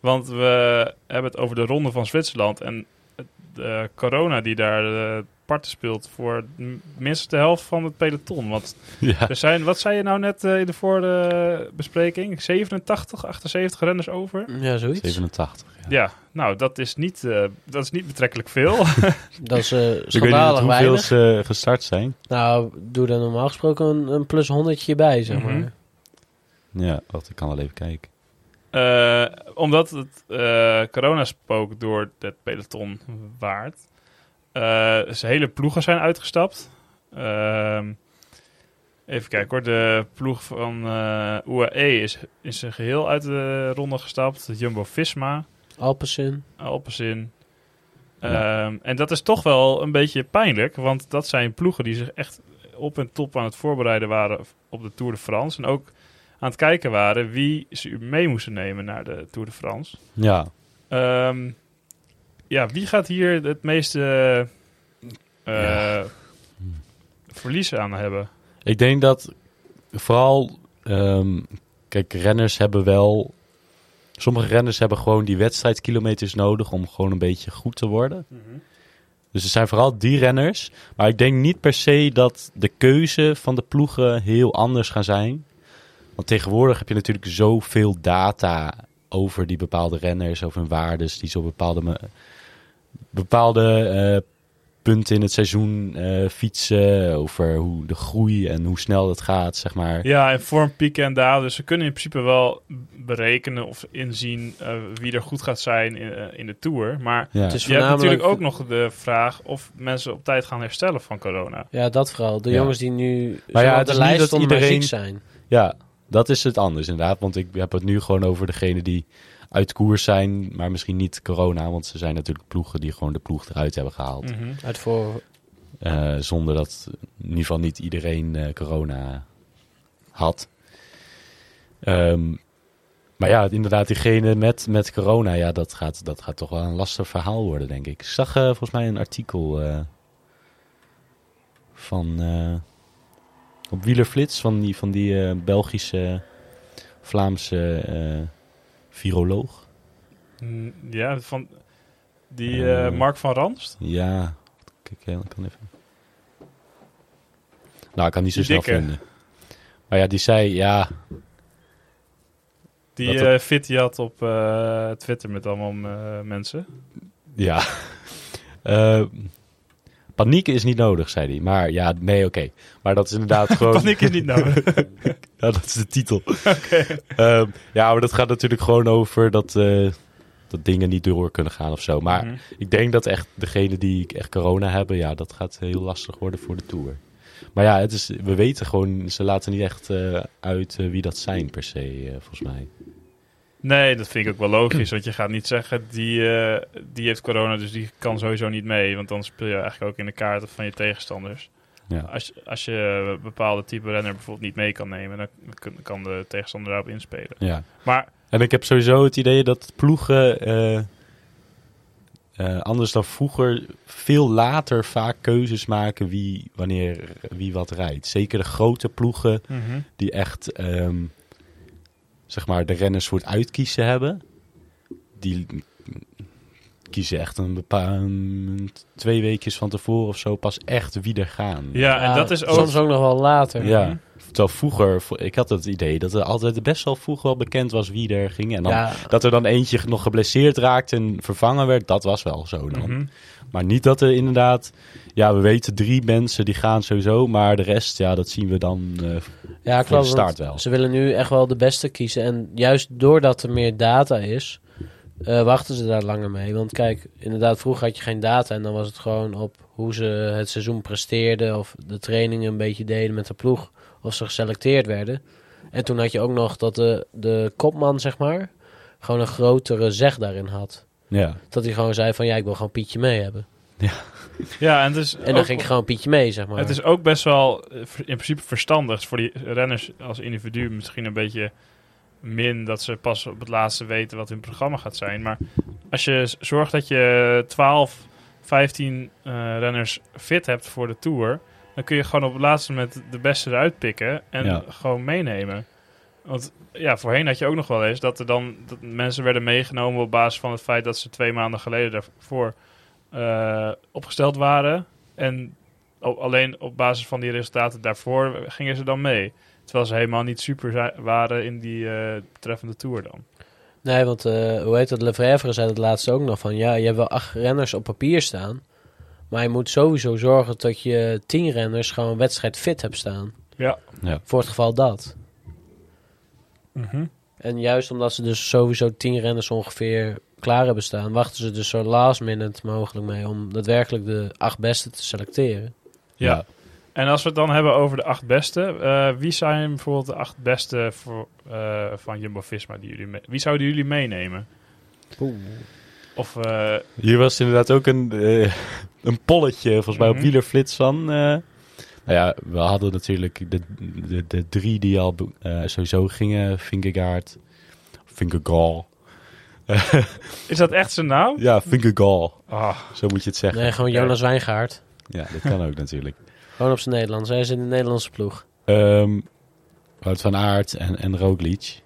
Speaker 1: want we hebben het over de ronde van Zwitserland en het- de corona die daar eh, aparte speelt voor m- minstens de helft van het peloton. Want
Speaker 2: Ja.
Speaker 1: er zijn, wat zei je nou net eh, in de vorige bespreking? 87, 78 renners over?
Speaker 3: Ja, zoiets.
Speaker 2: 87.
Speaker 1: Ja, nou, dat is niet, eh, dat is niet betrekkelijk veel.
Speaker 3: Dat is eh
Speaker 2: Ik weet niet
Speaker 3: schandalig
Speaker 2: hoeveel
Speaker 3: weinig.
Speaker 2: ze eh, gestart zijn.
Speaker 3: Nou, doe daar normaal gesproken een, een plus honderdje bij, zeg maar.
Speaker 1: Mhm.
Speaker 2: Ja, wacht, ik kan wel even kijken.
Speaker 1: Eh, omdat het eh, coronaspook door het peloton waart. Eh zijn hele ploegen zijn uitgestapt. Ehm, even kijken hoor. De ploeg van eh UAE is in zijn geheel uit de ronde gestapt. Jumbo-Visma,
Speaker 3: Alpecin.
Speaker 1: Ah, Alpecin. Ehm, En dat is toch wel een beetje pijnlijk. Want dat zijn ploegen die zich echt op en top aan het voorbereiden waren op de Tour de France. En ook aan het kijken waren wie ze mee moesten nemen naar de Tour de France.
Speaker 2: Ja,
Speaker 1: Ehm, ja, wie gaat hier het meeste eh,
Speaker 2: Ja.
Speaker 1: verlies aan hebben?
Speaker 2: ik denk dat vooral... ehm, kijk, renners hebben wel... Sommige renners hebben gewoon die wedstrijdkilometers nodig om gewoon een beetje goed te worden. Dus het zijn vooral die renners. Maar ik denk niet per se dat de keuze van de ploegen heel anders gaan zijn. Want tegenwoordig heb je natuurlijk zoveel data over die bepaalde renners, over hun waardes, die ze op bepaalde, me- bepaalde eh, punten in het seizoen eh, fietsen, over hoe de groei en hoe snel dat gaat, zeg maar.
Speaker 1: Ja, en vormpieken en dalen. Dus ze kunnen in principe wel berekenen of inzien eh, wie er goed gaat zijn in, eh, in de Tour. Maar
Speaker 2: Ja.
Speaker 3: Het is
Speaker 1: je hebt
Speaker 3: voornamelijk...
Speaker 1: natuurlijk ook nog de vraag of mensen op tijd gaan herstellen van corona.
Speaker 3: Ja, dat vooral. De
Speaker 2: Ja.
Speaker 3: jongens die nu
Speaker 2: Maar ja,
Speaker 3: zo
Speaker 2: het
Speaker 3: op de
Speaker 2: is niet
Speaker 3: lijst
Speaker 2: dat
Speaker 3: stonden maar
Speaker 2: iedereen-
Speaker 3: ziek zijn.
Speaker 2: Ja, dat is het anders inderdaad. Want ik heb het nu gewoon over degene die uit koers zijn, maar misschien niet corona. Want ze zijn natuurlijk ploegen die gewoon de ploeg eruit hebben gehaald.
Speaker 1: Mhm.
Speaker 3: Uit voor...
Speaker 2: Eh, zonder dat in ieder geval niet iedereen eh, corona had. Ehm, maar ja, inderdaad, diegene met, met corona, ja, dat gaat, dat gaat toch wel een lastig verhaal worden, denk ik. Ik zag eh, volgens mij een artikel eh, van eh, op Wielerflits van die, van die eh, Belgische, Vlaamse eh, viroloog.
Speaker 1: Mm, Ja, van die
Speaker 2: Eh.
Speaker 1: eh, Mark van Ranst.
Speaker 2: Ja, kijk, eh, ik kan even. Nou, ik kan niet zo
Speaker 1: Die
Speaker 2: snel
Speaker 1: dikke.
Speaker 2: vinden. Maar ja, die zei, ja,
Speaker 1: Die
Speaker 2: Dat
Speaker 1: eh fit die had op eh, Twitter met allemaal eh, mensen.
Speaker 2: ja. Eh, paniek is niet nodig, zei hij. Maar ja, nee, oké. Maar dat is inderdaad gewoon...
Speaker 1: Paniek is niet nodig.
Speaker 2: Ja, dat is de titel. Ehm, ja, maar dat gaat natuurlijk gewoon over dat, eh, dat dingen niet door kunnen gaan of zo. Maar
Speaker 1: Mhm.
Speaker 2: ik denk dat echt degene die echt corona hebben, ja, dat gaat heel lastig worden voor de Tour. Maar ja, het is, we weten gewoon, ze laten niet echt eh, uit eh, wie dat zijn per se, eh, volgens mij.
Speaker 1: Nee, dat vind ik ook wel logisch. Want je gaat niet zeggen, die, eh, die heeft corona, dus die kan sowieso niet mee. Want dan speel je eigenlijk ook in de kaarten van je tegenstanders.
Speaker 2: Ja.
Speaker 1: Als, als je een bepaalde type renner bijvoorbeeld niet mee kan nemen, dan kun- kan de tegenstander daarop inspelen.
Speaker 2: Ja.
Speaker 1: Maar
Speaker 2: En ik heb sowieso het idee dat ploegen, eh, eh, anders dan vroeger, veel later vaak keuzes maken wie, wanneer, wie wat rijdt. Zeker de grote ploegen die echt ehm, zeg maar de renners voor het uitkiezen hebben. Die kiezen echt een bepaalde twee weekjes van tevoren of zo pas echt wie er gaan.
Speaker 1: ja, en dat is ook...
Speaker 3: Soms ook nog wel later.
Speaker 2: Ja. Terwijl vroeger, vo- ik had het idee dat er altijd best wel vroeger wel bekend was wie er ging. En dan,
Speaker 3: Ja.
Speaker 2: dat er dan eentje nog geblesseerd raakte en vervangen werd, dat was wel zo dan.
Speaker 1: Mhm.
Speaker 2: Maar niet dat er inderdaad, ja, we weten drie mensen die gaan sowieso, maar de rest, ja, dat zien we dan eh,
Speaker 3: Ja, ik
Speaker 2: Voor de
Speaker 3: geloof
Speaker 2: start
Speaker 3: dat
Speaker 2: wel.
Speaker 3: ze willen nu echt wel de beste kiezen. En juist doordat er meer data is, eh, wachten ze daar langer mee. Want kijk, inderdaad, vroeger had je geen data en dan was het gewoon op hoe ze het seizoen presteerden of de trainingen een beetje deden met de ploeg of ze geselecteerd werden. En toen had je ook nog dat de, de kopman, zeg maar, gewoon een grotere zeg daarin had.
Speaker 2: ja.
Speaker 3: Dat hij gewoon zei van ja, ik wil gewoon Pietje mee hebben.
Speaker 1: Ja, en het is
Speaker 3: En dan
Speaker 2: Oh.
Speaker 1: ook-
Speaker 3: ging ik gewoon Pietje mee, zeg maar.
Speaker 1: Het is ook best wel eh, ver- in principe verstandig voor die renners als individu. Misschien een beetje min dat ze pas op het laatste weten wat hun programma gaat zijn. Maar als je z- zorgt dat je 12, 15 eh, renners fit hebt voor de tour, dan kun je gewoon op het laatste moment de beste eruit pikken en
Speaker 2: Ja.
Speaker 1: gewoon meenemen. Want ja, voorheen had je ook nog wel eens dat er dan dat mensen werden meegenomen op basis van het feit dat ze twee maanden geleden daarvoor eh, opgesteld waren. En o- alleen op basis van die resultaten daarvoor gingen ze dan mee. Terwijl ze helemaal niet super zi- waren in die eh betreffende tour dan.
Speaker 3: Nee, want eh, hoe heet dat? Lefevre zei het laatste ook nog van... Ja, je hebt wel acht renners op papier staan. Maar je moet sowieso zorgen dat je tien renners gewoon wedstrijd fit hebt staan.
Speaker 1: Ja.
Speaker 2: Ja.
Speaker 3: Voor het geval dat. En juist omdat ze dus sowieso tien renners ongeveer klaar hebben staan... wachten ze dus zo last minute mogelijk mee... om daadwerkelijk de acht beste te selecteren.
Speaker 1: Ja.
Speaker 2: Ja.
Speaker 1: En als we het dan hebben over de acht beste, eh, wie zijn bijvoorbeeld de acht beste voor, eh, van Jumbo-Visma die jullie me- wie zouden jullie meenemen? Of eh,
Speaker 2: Hier was inderdaad ook een, eh, een polletje, volgens mij op
Speaker 1: Mhm.
Speaker 2: wielerflits van. eh. nou ja, we hadden natuurlijk de, de, de drie die al be- eh, sowieso gingen. Vingegaard, Vingegaal.
Speaker 1: is dat echt zijn naam?
Speaker 2: Ja, Vingegaal,
Speaker 1: Ah,
Speaker 2: zo moet je het zeggen.
Speaker 3: Nee, gewoon
Speaker 1: Ja.
Speaker 3: Jonas Wijngaard.
Speaker 2: Ja, dat kan ook natuurlijk.
Speaker 3: Gewoon op zijn Nederlands. Hij is in de Nederlandse ploeg.
Speaker 2: Ehm Wout van Aert en, en Roglic.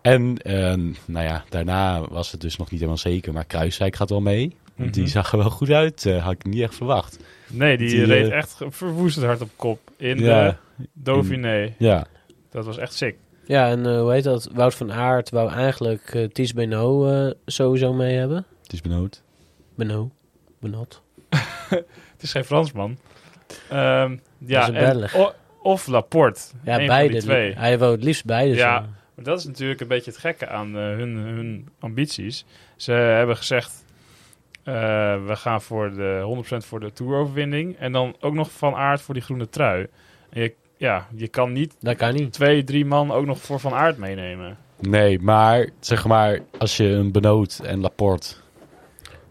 Speaker 2: En ehm, nou ja, daarna was het dus nog niet helemaal zeker. Maar Kruiswijk gaat wel mee. Want Die
Speaker 1: Mhm.
Speaker 2: zag er wel goed uit. eh, had ik niet echt verwacht.
Speaker 1: nee, die,
Speaker 2: Die,
Speaker 1: reed
Speaker 2: eh,
Speaker 1: echt ge- verwoestend hard op kop in de
Speaker 2: ja,
Speaker 1: Dauphiné.
Speaker 2: ja,
Speaker 1: Dat was echt sick.
Speaker 3: Ja, en eh, hoe heet dat? Wout van Aert wou eigenlijk eh Ties Beno eh, sowieso mee hebben.
Speaker 2: het is benoemd.
Speaker 3: Beno. Benot.
Speaker 1: Het is geen Fransman. Ehm ja,
Speaker 3: een
Speaker 1: en,
Speaker 3: Belg.
Speaker 1: o- of Laporte. Eén
Speaker 3: Ja,
Speaker 1: van
Speaker 3: beide.
Speaker 1: die twee.
Speaker 3: Hij wou het liefst beide
Speaker 1: Ja.
Speaker 3: zijn.
Speaker 1: Maar dat is natuurlijk een beetje het gekke aan eh, hun, hun ambities. Ze hebben gezegd, eh, we gaan voor de 100% voor de Tour-overwinning. En dan ook nog Van Aert voor die groene trui. En je, ja, je kan niet
Speaker 3: Dat kan niet.
Speaker 1: twee, drie man ook nog voor Van Aert meenemen.
Speaker 2: Nee, maar zeg maar, als je een Benoot en Laporte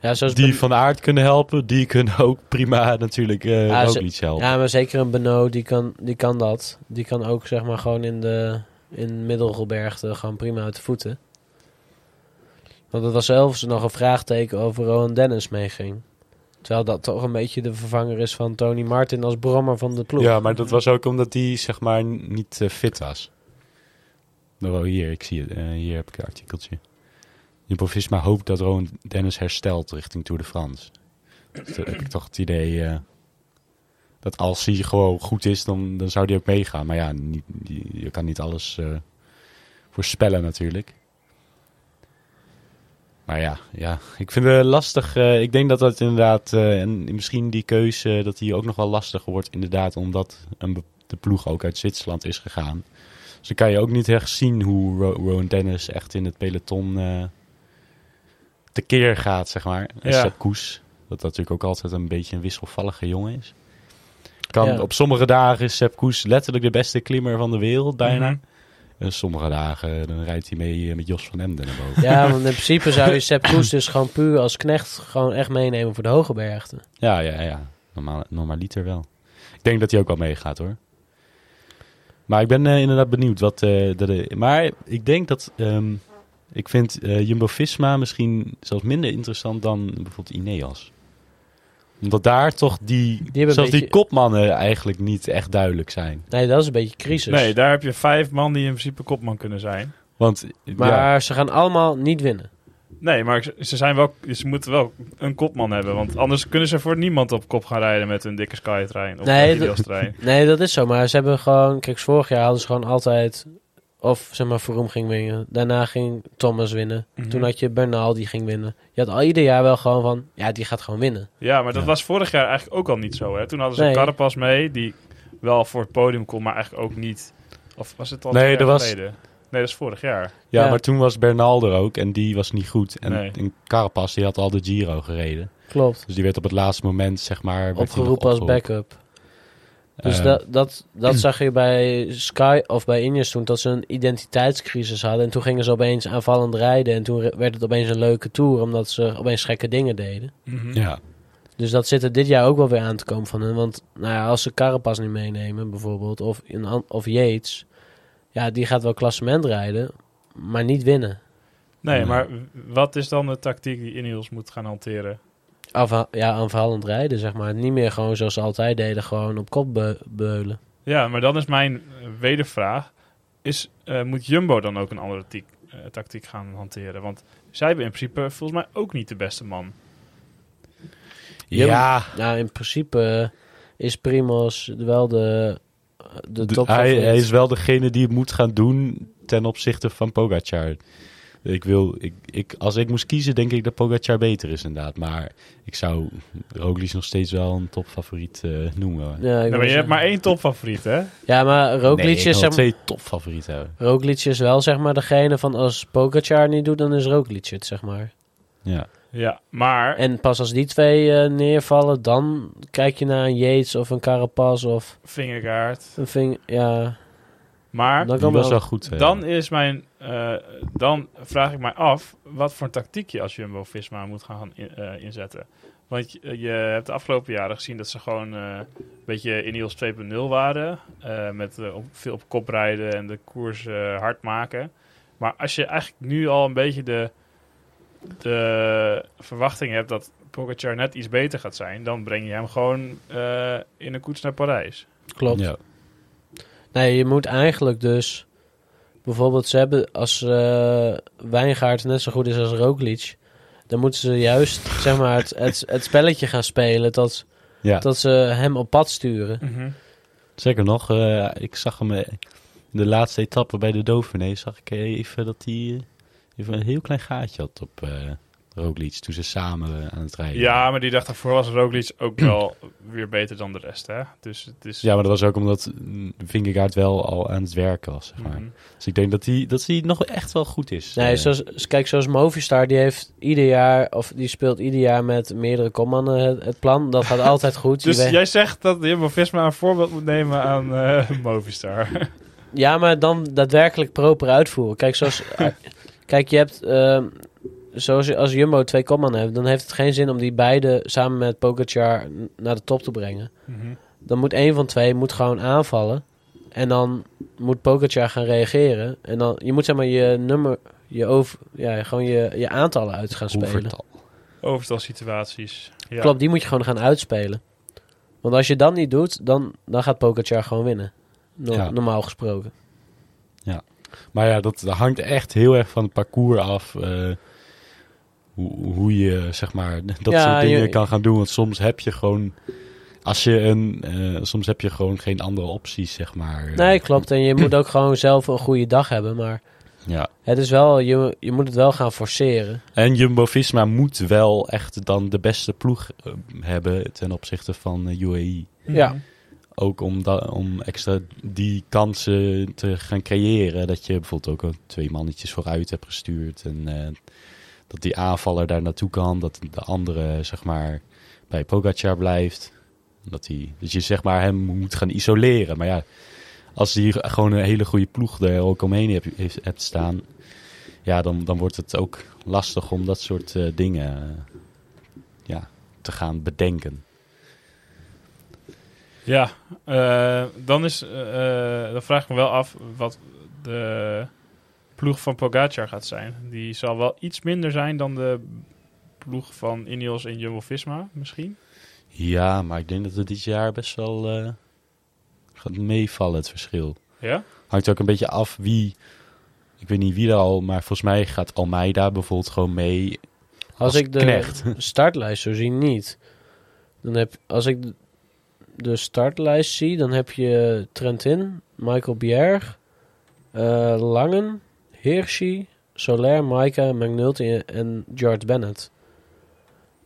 Speaker 3: Ja, zoals
Speaker 2: die
Speaker 3: Dus Ben-
Speaker 2: van aard kunnen helpen, die kunnen ook prima natuurlijk eh
Speaker 3: Ja, ze-
Speaker 2: Roglic helpen.
Speaker 3: ja, maar zeker een Beno, die kan, die kan dat. Die kan ook zeg maar gewoon in de in Middelgebergte gewoon prima uit de voeten. Want het was zelfs nog een vraagteken over Rowan Dennis meeging. Terwijl dat toch een beetje de vervanger is van Tony Martin als brommer van de ploeg.
Speaker 2: Ja, maar dat was ook omdat die zeg maar n- niet eh, fit was. Nou, wel hier, ik zie het. eh, hier heb ik een artikeltje. Jumbo-Visma hoopt dat Rowan Dennis herstelt richting Tour de France. Dat eh, heb ik toch het idee eh, dat als hij gewoon goed is, dan, dan zou hij ook meegaan. Maar ja, niet, die- je kan niet alles eh, voorspellen natuurlijk. Maar ja, ja, ik vind het lastig. eh, ik denk dat dat inderdaad, eh, en misschien die keuze, eh, dat die ook nog wel lastiger wordt. Inderdaad, omdat een be- de ploeg ook uit Zwitserland is gegaan. Dus dan kan je ook niet echt zien hoe Ro- Rowan Dennis echt in het peloton eh tekeer gaat, zeg maar. En
Speaker 1: Ja.
Speaker 2: Sepp Koes, dat natuurlijk ook altijd een beetje een wisselvallige jongen is. Kan,
Speaker 3: Ja.
Speaker 2: Op sommige dagen is Sepp Koes letterlijk de beste klimmer van de wereld, bijna.
Speaker 1: Mhm.
Speaker 2: En Eh, sommige dagen dan rijdt hij mee eh, met Jos van Emden naar boven.
Speaker 3: Ja, want in principe zou je Sepp Koes dus gewoon puur als knecht gewoon echt meenemen voor de hoge bergte.
Speaker 2: Ja, ja, ja. Normaal, normaliter wel. Ik denk dat hij ook wel meegaat hoor. Maar ik ben eh, inderdaad benieuwd wat. eh, dat, eh, maar ik denk dat. ehm, ik vind eh, Jumbo Visma misschien zelfs minder interessant dan bijvoorbeeld Ineos. Omdat daar toch die.
Speaker 3: een
Speaker 2: zelfs die
Speaker 3: beetje-
Speaker 2: kopmannen eigenlijk niet echt duidelijk zijn.
Speaker 3: Nee, dat is een beetje crisis.
Speaker 1: Nee, daar heb je vijf man die in principe kopman kunnen zijn.
Speaker 2: Want. eh,
Speaker 3: maar
Speaker 2: ja,
Speaker 3: ze gaan allemaal niet winnen.
Speaker 1: Nee, maar ze- ze, zijn wel, ze moeten wel een kopman hebben. Want anders kunnen ze voor niemand op kop gaan rijden met hun dikke Skytrain. Of
Speaker 3: Nee,
Speaker 1: nee,
Speaker 3: dat- Nee, dat is zo. Maar ze hebben gewoon... Kijk, vorig jaar hadden ze gewoon altijd... Of zeg maar, Vroom ging winnen. Daarna ging Thomas winnen.
Speaker 1: Mhm.
Speaker 3: Toen had je Bernal, die ging winnen. Je had al ieder jaar wel gewoon van... Ja, die gaat gewoon winnen.
Speaker 1: Ja, maar dat
Speaker 2: Ja.
Speaker 1: was vorig jaar eigenlijk ook al niet zo. Hè? Toen hadden ze
Speaker 3: Nee.
Speaker 1: Carapas mee, die wel voor het podium kon, maar eigenlijk ook niet. Of was het al
Speaker 2: Nee,
Speaker 1: twee jaar
Speaker 2: er was-
Speaker 1: geleden? Nee, dat is vorig jaar.
Speaker 2: ja,
Speaker 3: ja.
Speaker 2: maar toen was Bernal er ook en die was niet goed. En,
Speaker 1: Nee.
Speaker 2: en Carapaz die had al de Giro gereden.
Speaker 3: Klopt.
Speaker 2: Dus die werd op het laatste moment zeg maar. werd hij nog
Speaker 3: Opgeroepen als
Speaker 2: opgeroepen.
Speaker 3: backup. Dus
Speaker 2: Eh,
Speaker 3: dat, dat, dat zag je bij Sky of bij Ineos toen, dat ze een identiteitscrisis hadden. En toen gingen ze opeens aanvallend rijden. En toen re- werd het opeens een leuke tour, omdat ze opeens gekke dingen deden.
Speaker 2: Ja.
Speaker 3: Dus dat zit er dit jaar ook wel weer aan te komen van hen. Want nou ja, als ze Carapas niet meenemen bijvoorbeeld, of, een an- of Yates... Ja, die gaat wel klassement rijden, maar niet winnen.
Speaker 1: Nee,
Speaker 2: Ja.
Speaker 1: maar w- wat is dan de tactiek die Ineos moet gaan hanteren?
Speaker 3: Afha- ja, aanvallend rijden, zeg maar. Niet meer gewoon zoals ze altijd deden, gewoon op kop be- beulen.
Speaker 1: Ja, maar dan is mijn eh, wedervraag. Is, eh, moet Jumbo dan ook een andere tiek- eh, tactiek gaan hanteren? Want zij hebben in principe volgens mij ook niet de beste man.
Speaker 2: Ja,
Speaker 3: Nou, in principe eh, is Primos wel de, de
Speaker 2: de-
Speaker 3: top.
Speaker 2: hij, hij is wel degene die het moet gaan doen ten opzichte van Pogacar. Ik wil, ik, ik, als ik moest kiezen, denk ik dat Pogacar beter is inderdaad. Maar ik zou Roglic nog steeds wel een topfavoriet eh, noemen.
Speaker 3: Ja, ik
Speaker 1: Ja,
Speaker 3: wil
Speaker 1: maar je hebt
Speaker 3: zeggen.
Speaker 1: maar één topfavoriet, hè?
Speaker 3: ja, maar
Speaker 2: nee,
Speaker 3: Roglic
Speaker 2: ik
Speaker 3: is,
Speaker 2: wil
Speaker 3: zeg,
Speaker 2: twee topfavorieten hebben.
Speaker 3: Roglic is wel zeg maar degene van als Pogacar niet doet, dan is Roglic het zeg maar.
Speaker 2: Ja.
Speaker 1: Ja, maar
Speaker 3: En pas als die twee eh, neervallen, dan kijk je naar een Yates of een Carapaz of
Speaker 1: vingerkaart.
Speaker 3: een Ving. Ja,
Speaker 1: Maar
Speaker 3: dan
Speaker 2: Die
Speaker 3: kan
Speaker 2: was wel
Speaker 3: wel.
Speaker 2: goed. eh.
Speaker 1: dan is mijn... eh, dan vraag ik mij af wat voor een tactiek je als Jumbo-Visma moet gaan in- eh, inzetten. Want je, je hebt de afgelopen jaren gezien dat ze gewoon eh, een beetje Ineos 2.0 waren. eh, met eh, op, veel op kop rijden en de koers eh, hard maken. Maar als je eigenlijk nu al een beetje de, de verwachting hebt dat Pogacar net iets beter gaat zijn... dan breng je hem gewoon eh, in een koets naar Parijs.
Speaker 3: Klopt.
Speaker 2: Ja.
Speaker 3: Nee, je moet eigenlijk dus... Bijvoorbeeld, ze hebben als eh Wijngaard net zo goed is als Roglic... dan moeten ze juist zeg maar, het, het, het spelletje gaan spelen... Dat,
Speaker 2: Ja.
Speaker 3: dat ze hem op pad sturen.
Speaker 2: Zeker nog, eh, ik zag hem eh, in de laatste etappe bij de Dauphiné. Zag ik even dat hij eh, even een heel klein gaatje had op eh Roglic toen ze samen eh, aan het rijden
Speaker 1: Ja, maar die dacht daarvoor was Roglic ook wel weer beter dan de rest, hè? Dus het is...
Speaker 2: Ja, maar dat was ook omdat mm, Vingegaard wel al aan het werken was, zeg maar.
Speaker 1: Mhm.
Speaker 2: Dus ik denk dat hij dat hij nog echt wel goed is.
Speaker 3: Nee,
Speaker 2: Eh,
Speaker 3: zoals, kijk, zoals Movistar, die heeft ieder jaar... of die speelt ieder jaar met meerdere kommannen het, het plan. Dat gaat altijd goed. Je
Speaker 1: Dus
Speaker 3: weet-
Speaker 1: jij zegt dat Jumbo-Visma een voorbeeld moet nemen aan eh, Movistar.
Speaker 3: Ja, maar dan daadwerkelijk proper uitvoeren. Kijk, zoals, eh, kijk je hebt... ehm, zoals je- als Jumbo twee kommannen hebt... dan heeft het geen zin om die beide samen met Pogacar n- naar de top te brengen. Dan moet één van twee moet gewoon aanvallen. En dan moet Pogacar gaan reageren. En dan... Je moet zeg maar je nummer... Je over, ja, gewoon je, je aantallen uit gaan spelen.
Speaker 2: Overtal.
Speaker 1: Overtal situaties. Ja.
Speaker 3: Klopt, die moet je gewoon gaan uitspelen. Want als je dat niet doet, dan, dan gaat Pogacar gewoon winnen. No-
Speaker 2: Ja.
Speaker 3: Normaal gesproken.
Speaker 2: Maar ja, dat hangt echt heel erg van het parcours af. eh, hoe, hoe je, zeg maar, dat
Speaker 3: Ja,
Speaker 2: soort dingen
Speaker 3: je-
Speaker 2: kan gaan doen. Want soms heb je gewoon... Als je een, eh, soms heb je gewoon geen andere opties, zeg maar. Eh,
Speaker 3: Nee, klopt. En je moet ook gewoon zelf een goede dag hebben. Maar
Speaker 2: Ja.
Speaker 3: het is wel, je, je moet het wel gaan forceren.
Speaker 2: En Jumbo-Visma moet wel echt dan de beste ploeg eh, hebben ten opzichte van eh, UAE.
Speaker 3: Ja.
Speaker 2: Ook om, da- om extra die kansen te gaan creëren. Dat je bijvoorbeeld ook eh, twee mannetjes vooruit hebt gestuurd. En eh, dat die aanvaller daar naartoe kan. Dat de andere, zeg maar, bij Pogacar blijft. Dat, die, dat je, zeg maar, hem moet gaan isoleren. Maar ja, als die gewoon een hele goede ploeg er ook omheen hebt, heeft, hebt staan. Ja, dan, dan wordt het ook lastig om dat soort eh, dingen eh, ja, te gaan bedenken.
Speaker 1: Ja, eh, dan, is, eh, eh, dan vraag ik me wel af wat de ploeg van Pogacar gaat zijn. Die zal wel iets minder zijn dan de ploeg van Ineos en Jumbo-Visma misschien.
Speaker 2: Ja, maar ik denk dat het dit jaar best wel eh, gaat meevallen, het verschil.
Speaker 1: Ja?
Speaker 2: Hangt ook een beetje af wie, ik weet niet wie er al, maar volgens mij gaat Almeida bijvoorbeeld gewoon mee.
Speaker 3: Als,
Speaker 2: Als
Speaker 3: ik de
Speaker 2: knecht.
Speaker 3: startlijst zo zie, niet. Dan heb, als ik de- de startlijst zie, dan heb je Trentin, Michael Bjerg, eh, Langen, Hirschi, Soler, Maika, McNulty en George Bennett.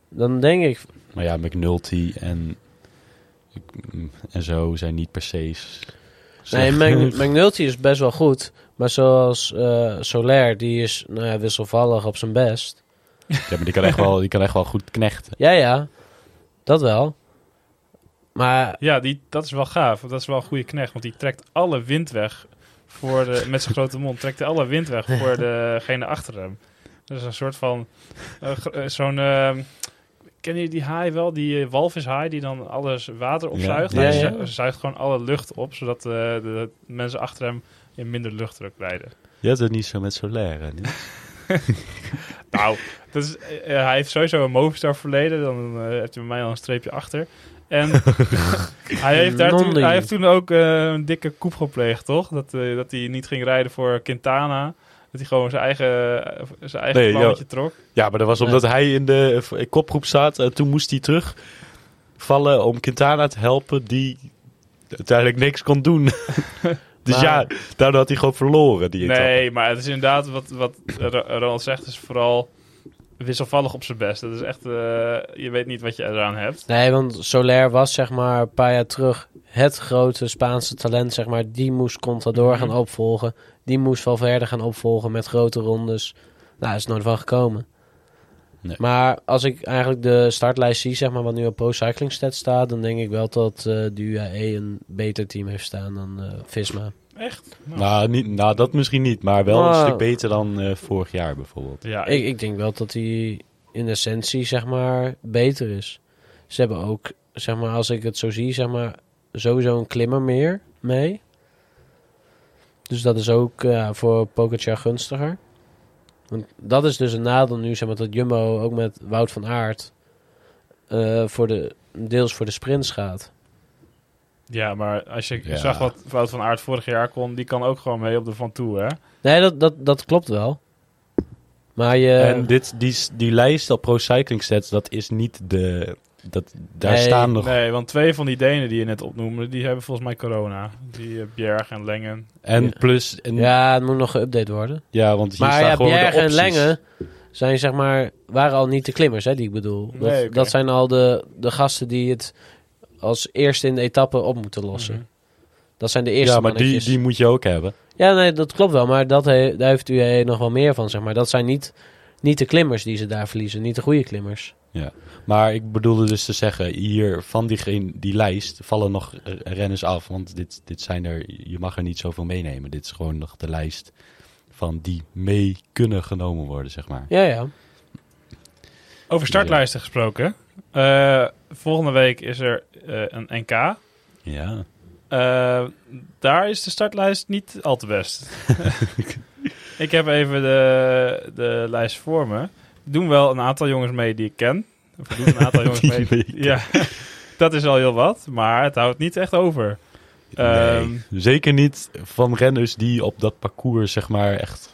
Speaker 3: Dan denk ik,
Speaker 2: Maar ja, McNulty en, en zo zijn niet per se... s-
Speaker 3: Nee,
Speaker 2: slecht.
Speaker 3: Mag- McNulty is best wel goed. Maar zoals eh, Soler, die is nou ja, wisselvallig op zijn best.
Speaker 2: Ja, maar die kan echt wel, die kan echt wel goed knechten.
Speaker 3: Ja, ja, dat wel. Maar
Speaker 1: Ja, die, dat is wel gaaf. Dat is wel een goede knecht, want die trekt alle wind weg voor de, met zijn grote mond. Trekt hij alle wind weg voor degene achter hem. Dat is een soort van eh, gr- eh, zo'n. eh, ken je die haai wel? Die eh, walvishaai die dan alles water opzuigt.
Speaker 2: Ja,
Speaker 1: Hij
Speaker 3: ja.
Speaker 1: zu- zuigt gewoon alle lucht op, zodat eh, de mensen achter hem in minder luchtdruk rijden.
Speaker 2: Je hebt het niet zo met Solaire. hè, niet?
Speaker 1: Nou, dat is, eh, eh, hij heeft sowieso een Movistar verleden. Dan eh, heeft hij bij mij al een streepje achter. En hij, heeft daar toen,
Speaker 3: Nonny.
Speaker 1: hij heeft toen ook eh, een dikke koep gepleegd, toch? Dat, eh, dat hij niet ging rijden voor Quintana. Dat hij gewoon zijn eigen, eh, zijn eigen
Speaker 2: Nee,
Speaker 1: plannetje trok.
Speaker 2: Ja, maar dat was omdat hij in de eh, v- kopgroep zat. En toen moest hij terugvallen om Quintana te helpen, die uiteindelijk niks kon doen. dus
Speaker 3: Maar-
Speaker 2: ja, daardoor had hij gewoon verloren. Die etappe.
Speaker 1: Nee, maar het is inderdaad wat, wat Ro- Ronald zegt, is vooral wisselvallig op zijn best. Dat is echt, eh, je weet niet wat je eraan hebt.
Speaker 3: Nee, want Soler was zeg maar een paar jaar terug het grote Spaanse talent, zeg maar. Die moest Contador gaan opvolgen. Die moest Valverde gaan opvolgen met grote rondes. Nou, is nooit van gekomen.
Speaker 2: Nee.
Speaker 3: Maar als ik eigenlijk de startlijst zie, zeg maar, wat nu op Pro Cycling Stats staat, dan denk ik wel dat eh, de UAE een beter team heeft staan dan eh, Visma.
Speaker 2: Nou, niet, nou, dat misschien niet, maar wel een
Speaker 3: Maar-
Speaker 2: stuk beter dan eh, vorig jaar bijvoorbeeld.
Speaker 1: Ja,
Speaker 3: Ik, ik denk wel dat hij in essentie, zeg maar, beter is. Ze hebben ook, zeg maar, als ik het zo zie, zeg maar, sowieso een klimmer meer mee. Dus dat is ook ja, voor Pogacar gunstiger. Want dat is dus een nadeel nu, zeg maar, dat Jumbo ook met Wout van Aert eh, voor de, deels voor de sprints gaat.
Speaker 1: ja maar als je
Speaker 2: Ja.
Speaker 1: zag wat Wout van Aert vorig jaar kon, die kan ook gewoon mee op de Van Toe, hè?
Speaker 3: Nee, dat, dat, dat klopt wel. Maar je...
Speaker 2: en dit, die, s- die lijst op Pro Cycling Sets, dat is niet de... Dat, daar
Speaker 3: Nee,
Speaker 2: staan nog...
Speaker 1: Nee, want twee van die Denen die je net opnoemde, die hebben volgens mij corona. Die eh, Bjerg en Lengen.
Speaker 2: En
Speaker 3: Ja.
Speaker 2: plus... En, ja.
Speaker 3: Ja, het moet nog geüpdate worden.
Speaker 2: want hier
Speaker 3: Maar
Speaker 2: staan
Speaker 3: ja,
Speaker 2: gewoon
Speaker 3: Bjerg
Speaker 2: de
Speaker 3: en
Speaker 2: opties.
Speaker 3: Lenge zijn zeg maar, waren al niet de klimmers, hè, die ik bedoel. Dat,
Speaker 1: Nee, oké.
Speaker 3: dat zijn al de, de gasten die het als eerste in de etappe op moeten lossen. Dat zijn de eerste
Speaker 2: Mhm. Ja, maar die,
Speaker 3: mannetjes.
Speaker 2: die moet je ook hebben.
Speaker 3: Ja, nee, dat klopt wel. Maar dat he- daar heeft UAE nog wel meer van, zeg maar. Dat zijn niet, niet de klimmers die ze daar verliezen. Niet de goede klimmers.
Speaker 2: Maar ik bedoelde dus te zeggen, hier van die, geen- die lijst vallen nog eh, renners af. Want dit, dit zijn er, je mag er niet zoveel meenemen. Dit is gewoon nog de lijst van die mee kunnen genomen worden, zeg maar.
Speaker 3: Ja, ja.
Speaker 1: Over startlijsten gesproken. eh, volgende week is er eh, een NK.
Speaker 2: Ja.
Speaker 1: Eh, daar is de startlijst niet al te best. ik heb even de, de lijst voor me. Er doen wel een aantal jongens mee die ik ken. Of er doen een aantal jongens
Speaker 2: Die
Speaker 1: mee.
Speaker 2: weet ik.
Speaker 1: Ja, dat is al heel wat. Maar het houdt niet echt over. Ehm,
Speaker 2: nee, zeker niet van renners die op dat parcours, zeg maar, echt...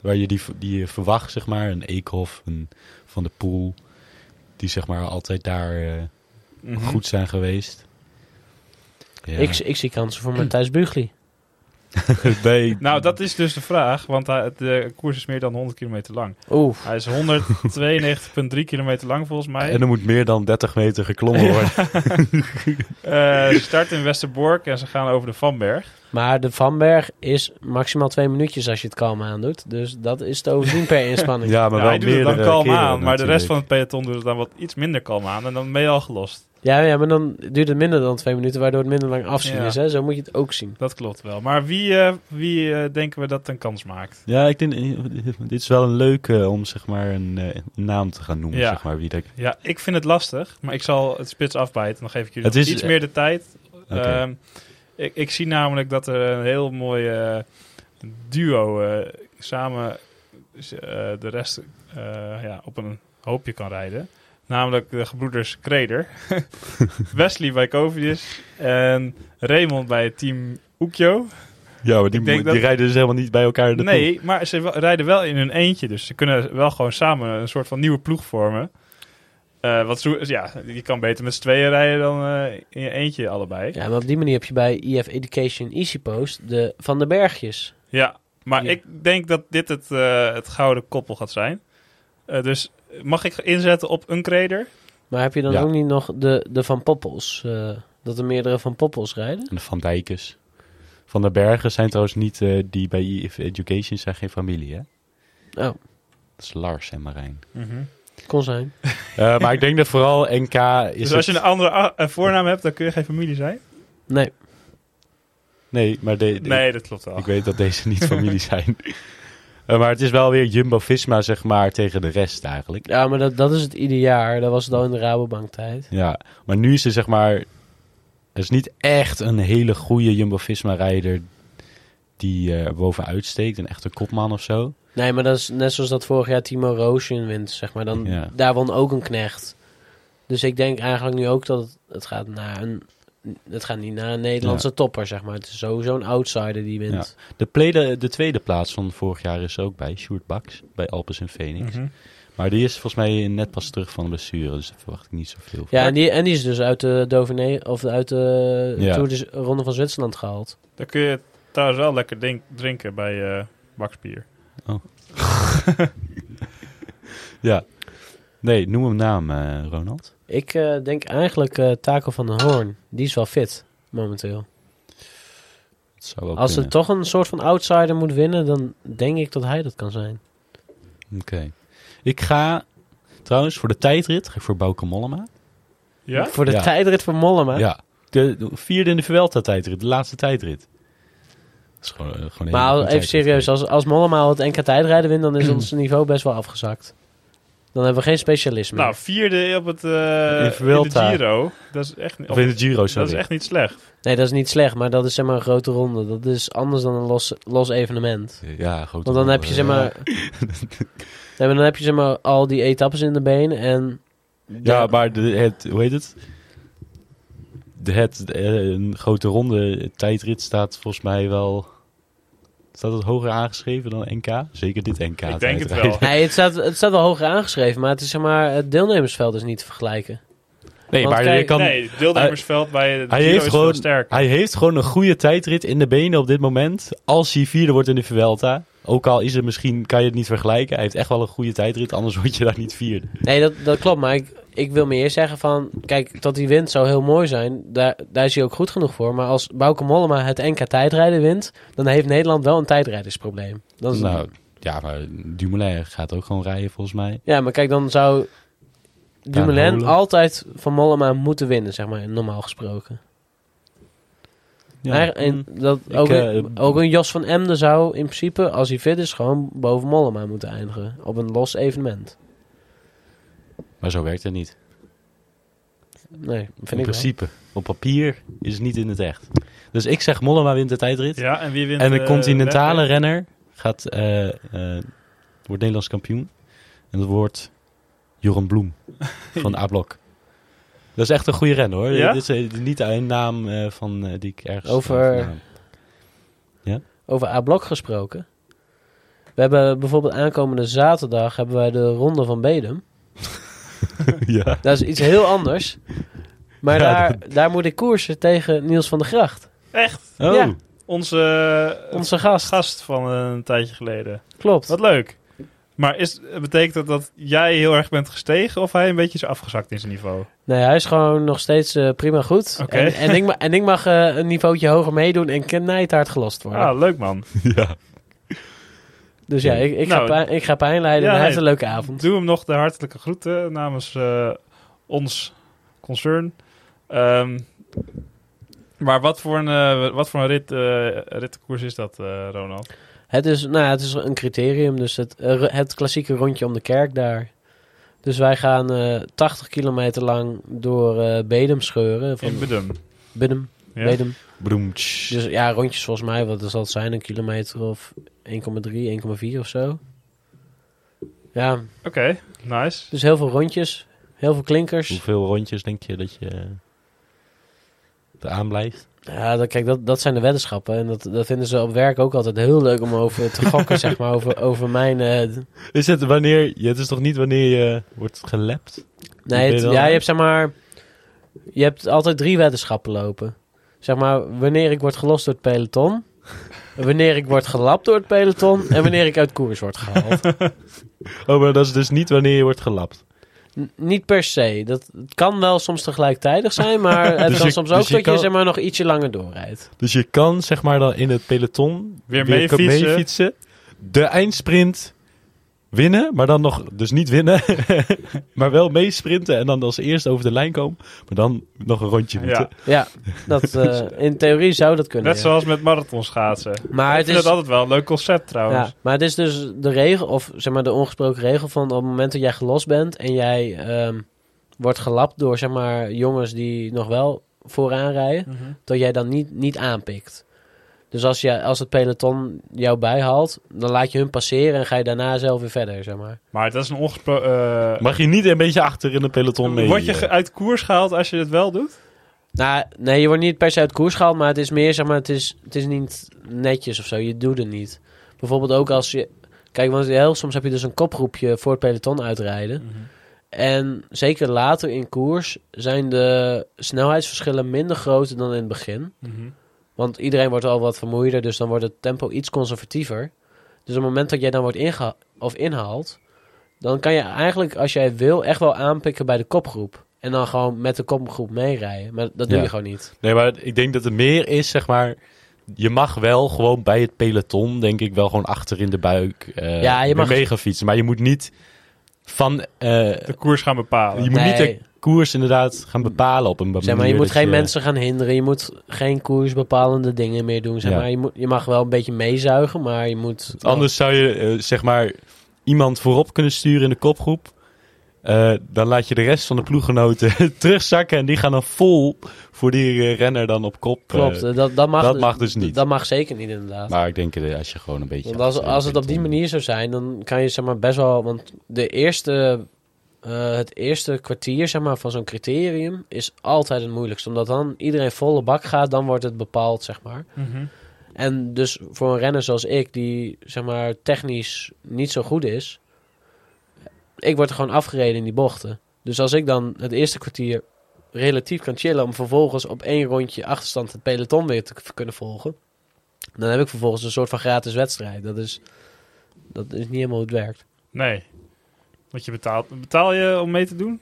Speaker 2: Waar je die, die je verwacht, zeg maar. Een Eekhof, een Van de Poel. Die, zeg maar, altijd daar eh,
Speaker 1: mhm.
Speaker 2: goed zijn geweest. Ja.
Speaker 3: Ik, ik zie kansen voor Matthijs Bugli.
Speaker 2: Nee,
Speaker 1: Nou, dat is dus de vraag. Want hij- de koers is meer dan 100 kilometer lang.
Speaker 3: Oeh.
Speaker 1: Hij is 192,3 kilometer lang volgens mij.
Speaker 2: En er moet meer dan 30 meter geklommen worden.
Speaker 1: Eh, ze start in Westerbork en ze gaan over de Vanberg.
Speaker 3: Maar de Vanberg is maximaal twee minuutjes als je het kalm aandoet. Dus dat is te overzien per inspanning.
Speaker 2: Ja, maar
Speaker 1: Nou,
Speaker 2: wel
Speaker 1: hij doet het dan
Speaker 2: meerdere
Speaker 1: kalm
Speaker 2: keren
Speaker 1: aan, maar de rest
Speaker 2: natuurlijk.
Speaker 1: van het peloton doet het dan wat iets minder kalm aan. En dan ben je al gelost.
Speaker 3: Ja, ja, maar dan duurt het minder dan twee minuten, waardoor het minder lang afzien
Speaker 1: Ja.
Speaker 3: is. Hè? Zo moet je het ook zien.
Speaker 1: Dat klopt wel. Maar wie, eh, wie eh, denken we dat een kans maakt?
Speaker 2: Ja, ik denk, eh, dit is wel een leuke om zeg maar een eh, naam te gaan noemen.
Speaker 1: Ja.
Speaker 2: Zeg maar, wie dat...
Speaker 1: Ja, ik vind het lastig, maar ik zal het spits afbijten. Dan geef ik jullie
Speaker 2: Het is-
Speaker 1: nog iets meer de tijd.
Speaker 2: Oké.
Speaker 1: Ehm, ik, ik zie namelijk dat er een heel mooi eh, duo eh, samen eh, de rest eh, ja, op een hoopje kan rijden. Namelijk de gebroeders Kreder, Wesley bij Covius en Raymond bij het team Oekjo.
Speaker 2: Ja, maar die,
Speaker 1: Ik denk
Speaker 2: mo-
Speaker 1: dat-
Speaker 2: die rijden dus helemaal niet bij elkaar in de ploeg.
Speaker 1: Nee, maar ze wel- rijden wel in hun eentje. Dus ze kunnen wel gewoon samen een soort van nieuwe ploeg vormen. Eh wat zo, ja, je kan beter met z'n tweeën rijden dan eh, in je eentje allebei. Ja,
Speaker 3: Ja, maar op die manier heb je bij EF Education Easy Post de Van de Bergjes.
Speaker 1: maar
Speaker 3: Ja.
Speaker 1: ik denk dat dit het, eh, het gouden koppel gaat zijn. Eh, dus mag ik inzetten op een creder?
Speaker 3: Maar heb je dan
Speaker 2: Ja.
Speaker 3: ook niet nog de, de Van Poppels? eh, dat er meerdere Van Poppels rijden?
Speaker 2: En de Van Dijkers. Van der Bergen zijn trouwens niet, eh, die bij EF Education zijn geen familie, hè?
Speaker 3: Oh,
Speaker 2: Dat is Lars en Marijn.
Speaker 3: kon zijn.
Speaker 2: Eh, maar ik denk dat vooral NK is
Speaker 1: dus als je
Speaker 2: het-
Speaker 1: een andere a- eh, voornaam hebt, dan kun je geen familie zijn?
Speaker 3: Nee.
Speaker 2: Nee, maar de, de-
Speaker 1: Nee, dat klopt wel.
Speaker 2: Ik weet dat deze niet familie zijn. Eh, maar het is wel weer Jumbo-Visma, zeg maar, tegen de rest eigenlijk.
Speaker 3: Ja, maar dat, dat is het ieder jaar. Dat was het al in de Rabobank tijd.
Speaker 2: Ja, maar nu is er zeg maar... Er is niet echt een hele goede Jumbo-Visma-rijder die eh, bovenuit steekt. Een echte kopman of zo.
Speaker 3: Nee, maar dat is net zoals dat vorig jaar Timo Roosje wint, zeg maar. Dan,
Speaker 2: Ja.
Speaker 3: Daar won ook een knecht. Dus ik denk eigenlijk nu ook dat het, het gaat naar een het gaat niet naar een Nederlandse topper, zeg maar. Het is sowieso een outsider die wint.
Speaker 2: De, plede- de tweede plaats van vorig jaar is er ook bij, Sjoerd Baks, bij Alpes en Phoenix.
Speaker 1: Mhm.
Speaker 2: Maar die is volgens mij net pas terug van de blessure, dus daar verwacht ik niet zoveel van.
Speaker 3: Ja, en, die, en die is dus uit de Dauphiné, of uit de
Speaker 2: Ja.
Speaker 3: Tour de Ronde van Zwitserland gehaald.
Speaker 1: Dan kun je trouwens wel lekker drink- drinken bij eh bakspier.
Speaker 2: Ja. Nee, noem hem naam, eh, Ronald.
Speaker 3: Ik eh, denk eigenlijk eh Taco van den Hoorn. Die is wel fit, momenteel.
Speaker 2: Dat zou wel
Speaker 3: Als er
Speaker 2: kunnen.
Speaker 3: toch een soort van outsider moet winnen, dan denk ik dat hij dat kan zijn.
Speaker 2: Oké. Ik ga, trouwens, voor de tijdrit, ga ik voor Bauke Mollema.
Speaker 1: Ja?
Speaker 3: Voor de
Speaker 2: Ja.
Speaker 3: tijdrit van Mollema.
Speaker 2: Ja. De, de vierde in de Vuelta-tijdrit, de laatste tijdrit. Dat is gewoon, eh, gewoon een hele
Speaker 3: Maar
Speaker 2: goede
Speaker 3: even
Speaker 2: tijdrit.
Speaker 3: serieus, als, als Mollema al het NK tijdrijden wint, dan is ons niveau best wel afgezakt. Dan hebben we geen specialisme.
Speaker 1: Nou, vierde op het eh
Speaker 2: In Vuelta.
Speaker 1: in de Giro. Dat is echt, niet-
Speaker 2: Of in de Giro,
Speaker 1: dat
Speaker 2: sorry.
Speaker 1: is echt niet slecht.
Speaker 3: Nee, dat is niet slecht, maar dat is zeg maar een grote ronde. Dat is anders dan een los, los evenement.
Speaker 2: Ja, goed.
Speaker 3: Want dan heb je zeg maar... Nee, maar dan heb je zeg maar al die etappes in de been en...
Speaker 2: Ja, maar de, het, hoe heet het? De, het eh, een grote ronde tijdrit staat volgens mij wel... Staat het hoger aangeschreven dan NK? Zeker dit NK.
Speaker 1: Ik denk het
Speaker 2: tijdrijden.
Speaker 1: wel.
Speaker 3: Nee, het staat, het staat wel hoger aangeschreven, maar het is zeg maar... Het deelnemersveld is niet te vergelijken.
Speaker 2: Nee,
Speaker 3: Want
Speaker 2: maar
Speaker 3: kijk,
Speaker 2: je kan,
Speaker 1: Nee, deelnemersveld bij de
Speaker 2: hij,
Speaker 1: Giro
Speaker 2: heeft
Speaker 1: is gewoon...
Speaker 2: gewoon,
Speaker 1: sterk.
Speaker 2: hij heeft gewoon een goede tijdrit in de benen op dit moment. Als hij vierde wordt in de Vuelta. Ook al is het misschien, kan je het niet vergelijken. Hij heeft echt wel een goede tijdrit, anders word je daar niet vierde.
Speaker 3: Nee, dat, dat klopt, maar ik, ik wil meer zeggen van... Kijk, dat hij wint zou heel mooi zijn. Daar, daar is hij ook goed genoeg voor. Maar als Bauke Mollema het NK tijdrijden wint... dan heeft Nederland wel een tijdrijdersprobleem. Dan is-
Speaker 2: Nou, ja, maar Dumoulin gaat ook gewoon rijden volgens mij.
Speaker 3: Ja, maar kijk, dan zou Dumoulin
Speaker 2: Holen.
Speaker 3: altijd van Mollema moeten winnen, zeg maar, normaal gesproken.
Speaker 2: Ja.
Speaker 3: Maar, en dat
Speaker 2: Ik,
Speaker 3: ook,
Speaker 2: eh,
Speaker 3: een, ook een Jos van Emden zou in principe, als hij fit is, gewoon boven Mollema moeten eindigen. Op een los evenement.
Speaker 2: maar zo werkt het niet.
Speaker 3: Nee, vind
Speaker 2: in
Speaker 3: ik
Speaker 2: principe. Op papier is het niet in het echt. Dus ik zeg Mollema wint de tijdrit.
Speaker 1: Ja, en wie wint?
Speaker 2: en een
Speaker 1: eh,
Speaker 2: continentale
Speaker 1: wedstrijd?
Speaker 2: renner gaat, eh, eh, wordt Nederlands kampioen. En dat wordt Joran Bloem van A-Blok. Dat is echt een goede renner hoor.
Speaker 1: Ja?
Speaker 2: Dit is eh, niet een naam eh, van, eh, die ik ergens...
Speaker 3: Over-
Speaker 2: vandaan-
Speaker 3: wel. Over A-blok gesproken. We hebben bijvoorbeeld aankomende zaterdag hebben wij de Ronde van Bedum.
Speaker 2: ja.
Speaker 3: Dat is iets heel anders. Maar
Speaker 2: Ja,
Speaker 3: daar, daar moet ik koersen tegen Niels van der Gracht.
Speaker 1: Echt?
Speaker 2: Oh,
Speaker 3: Ja.
Speaker 1: Onze, eh,
Speaker 3: Onze gast.
Speaker 1: gast van een tijdje geleden.
Speaker 3: Klopt.
Speaker 1: Wat leuk. Maar is, betekent dat dat jij heel erg bent gestegen of hij een beetje is afgezakt in zijn niveau?
Speaker 3: Nee, hij is gewoon nog steeds eh, prima goed.
Speaker 1: Oké.
Speaker 3: En, en ik, ma- en ik mag eh, een niveautje hoger meedoen en knijtaard gelost worden.
Speaker 1: Ah, leuk man.
Speaker 2: ja.
Speaker 3: dus ja, ik, ik,
Speaker 1: Nou,
Speaker 3: ga, pijn, ik ga pijn
Speaker 1: ja,
Speaker 3: leiden en hij
Speaker 1: nee.
Speaker 3: heeft een leuke avond.
Speaker 1: Doe hem nog de hartelijke groeten namens eh, ons concern. Ehm, maar wat voor een, eh, wat voor een rit, eh rittenkoers is dat, eh, Ronald?
Speaker 3: Het is, nou, ja, het is een criterium, dus het, eh, ro- het klassieke rondje om de kerk daar. Dus wij gaan eh 80 kilometer lang door eh Bedum scheuren. Van
Speaker 1: In Bedum.
Speaker 3: Bedum,
Speaker 1: Ja?
Speaker 3: Bedum.
Speaker 2: Bloemtsch.
Speaker 3: Dus ja, rondjes volgens mij, wat zal het zijn? Een kilometer of 1,3, 1,4 of zo. Ja,
Speaker 1: Oké, nice.
Speaker 3: dus heel veel rondjes, heel veel klinkers.
Speaker 2: Hoeveel rondjes denk je dat je eh, eraan blijft?
Speaker 3: Ja, dat, kijk, dat, dat zijn de weddenschappen. En dat, dat vinden ze op werk ook altijd heel leuk om over te gokken, zeg maar. Over, over mijn... eh, d-
Speaker 2: Is het wanneer... ja, Het is toch niet wanneer je wordt gelept? ben
Speaker 3: nee, het-
Speaker 2: je dan
Speaker 3: ja,
Speaker 2: aan?
Speaker 3: je hebt zeg maar... Je hebt altijd drie weddenschappen lopen. Zeg maar, wanneer ik word gelost door het peloton... Wanneer ik word gelapt door het peloton... En wanneer ik uit koers word gehaald.
Speaker 2: Oh, maar dat is dus niet wanneer je wordt gelapt.
Speaker 3: N- niet per se. Dat het kan wel soms tegelijkertijd zijn... Maar het
Speaker 2: Dus
Speaker 3: kan
Speaker 2: je-
Speaker 3: soms
Speaker 2: dus
Speaker 3: ook
Speaker 2: je
Speaker 3: dat
Speaker 2: kan-
Speaker 3: je zeg maar, nog ietsje langer doorrijdt.
Speaker 2: Dus je kan zeg maar dan in het peloton
Speaker 1: Weer
Speaker 2: kan
Speaker 1: meefietsen.
Speaker 2: meefietsen, De eindsprint winnen, maar dan nog... Dus niet winnen, maar wel meesprinten en dan als eerste over de lijn komen. Maar dan nog een rondje moeten.
Speaker 1: Ja.
Speaker 3: Ja, dat, eh, in theorie zou dat kunnen.
Speaker 1: Net
Speaker 3: ja.
Speaker 1: zoals met marathonschaatsen.
Speaker 3: Maar
Speaker 1: Ik
Speaker 3: het
Speaker 1: vind
Speaker 3: is...
Speaker 1: dat altijd wel een leuk concept trouwens.
Speaker 3: Ja, maar het is dus de regel, of zeg maar de ongesproken regel van op het moment dat jij gelost bent en jij ehm, wordt gelapt door zeg maar jongens die nog wel vooraan rijden,
Speaker 1: Mhm.
Speaker 3: dat jij dan niet, niet aanpikt. Dus als, je, als het peloton jou bijhaalt, dan laat je hun passeren en ga je daarna zelf weer verder, zeg maar.
Speaker 1: Maar dat is een ongesproken... eh,
Speaker 2: Mag je niet een beetje achter in het peloton mee?
Speaker 1: Word je
Speaker 2: eh,
Speaker 1: ge- uit koers gehaald als je dit wel doet?
Speaker 3: Nou, nee, je wordt niet per se uit koers gehaald, maar het is meer, zeg maar, het is, het is niet netjes of zo. Je doet het niet. Bijvoorbeeld ook als je... Kijk, want heel soms heb je dus een kopgroepje voor het peloton uitrijden. En zeker later in koers zijn de snelheidsverschillen minder groot dan in het begin.
Speaker 1: Mhm.
Speaker 3: Want iedereen wordt al wat vermoeider, dus dan wordt het tempo iets conservatiever. Dus op het moment dat jij dan wordt ingeha- of inhaalt, dan kan je eigenlijk, als jij wil, echt wel aanpikken bij de kopgroep. En dan gewoon met de kopgroep meerijden. Maar dat doe
Speaker 2: Ja.
Speaker 3: je gewoon niet.
Speaker 2: Nee, maar ik denk dat het meer is, zeg maar... Je mag wel gewoon bij het peloton, denk ik, wel gewoon achter in de buik eh
Speaker 3: Ja, je mag-
Speaker 2: mega fietsen. Maar je moet niet van... eh,
Speaker 1: De koers gaan bepalen.
Speaker 2: je moet niet
Speaker 3: Nee.
Speaker 2: de koers inderdaad gaan bepalen op een manier dus, eh,
Speaker 3: Zeg maar, je moet
Speaker 2: dat
Speaker 3: geen mensen gaan hinderen. Je moet geen koersbepalende dingen meer doen. Zeg
Speaker 2: Ja.
Speaker 3: maar. je, moet, je mag wel een beetje meezuigen, maar je moet... wel-
Speaker 2: Anders zou je, eh, zeg maar, iemand voorop kunnen sturen in de kopgroep. Eh, dan laat je de rest van de ploeggenoten terugzakken. En die gaan dan vol voor die eh, renner dan op kop. eh.
Speaker 3: Klopt, dat, dat, mag,
Speaker 2: dat mag dus niet.
Speaker 3: Dat mag zeker niet, inderdaad.
Speaker 2: maar ik denk eh, als je gewoon een beetje...
Speaker 3: Want als,
Speaker 2: achter in
Speaker 3: als het op die
Speaker 2: peloton-
Speaker 3: manier zou zijn, dan kan je zeg maar best wel. Want de eerste, eh, het eerste kwartier zeg maar, van zo'n criterium is altijd het moeilijkste. Omdat dan iedereen volle bak gaat, dan wordt het bepaald, zeg maar.
Speaker 1: Mhm.
Speaker 3: En dus voor een renner zoals ik, die zeg maar technisch niet zo goed is, ik word er gewoon afgereden in die bochten. Dus als ik dan het eerste kwartier relatief kan chillen om vervolgens op één rondje achterstand het peloton weer te k- kunnen volgen, dan heb ik vervolgens een soort van gratis wedstrijd. Dat is, dat is niet helemaal hoe het werkt.
Speaker 1: Nee. Want je betaalt. Betaal je om mee te doen?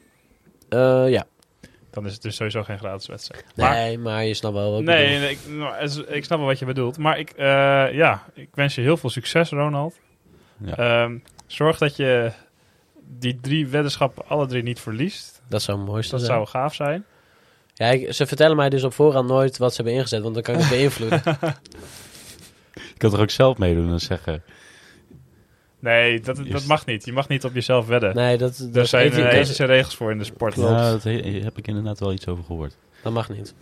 Speaker 3: Eh, ja,
Speaker 1: Dan is het dus sowieso geen gratis wedstrijd. Maar,
Speaker 3: nee, maar je snapt wel wat ik
Speaker 1: nee,
Speaker 3: bedoel.
Speaker 1: nee, ik, nou, es- ik snap wel wat je bedoelt. Maar ik, eh, ja, ik wens je heel veel succes, Ronald.
Speaker 2: Ja.
Speaker 1: Ehm, zorg dat je die drie weddenschappen alle drie niet verliest.
Speaker 3: Dat zou het mooiste
Speaker 1: Dat
Speaker 3: zijn.
Speaker 1: zou gaaf zijn.
Speaker 3: Ja, ik- ze vertellen mij dus op voorhand nooit wat ze hebben ingezet, want dan kan ik het beïnvloeden.
Speaker 2: Ik kan er ook zelf meedoen en zeggen...
Speaker 1: Nee, dat, dat
Speaker 2: Eerst-
Speaker 1: mag niet. Je mag niet op jezelf wedden.
Speaker 3: Nee, dat, dat,
Speaker 1: Daar zijn
Speaker 3: heeft niet-
Speaker 1: eh,
Speaker 3: dat-
Speaker 1: ethische regels voor in de sport.
Speaker 3: Klopt.
Speaker 2: Ja, "Nou, dat he- heb ik inderdaad wel iets over gehoord.
Speaker 3: Dat mag niet.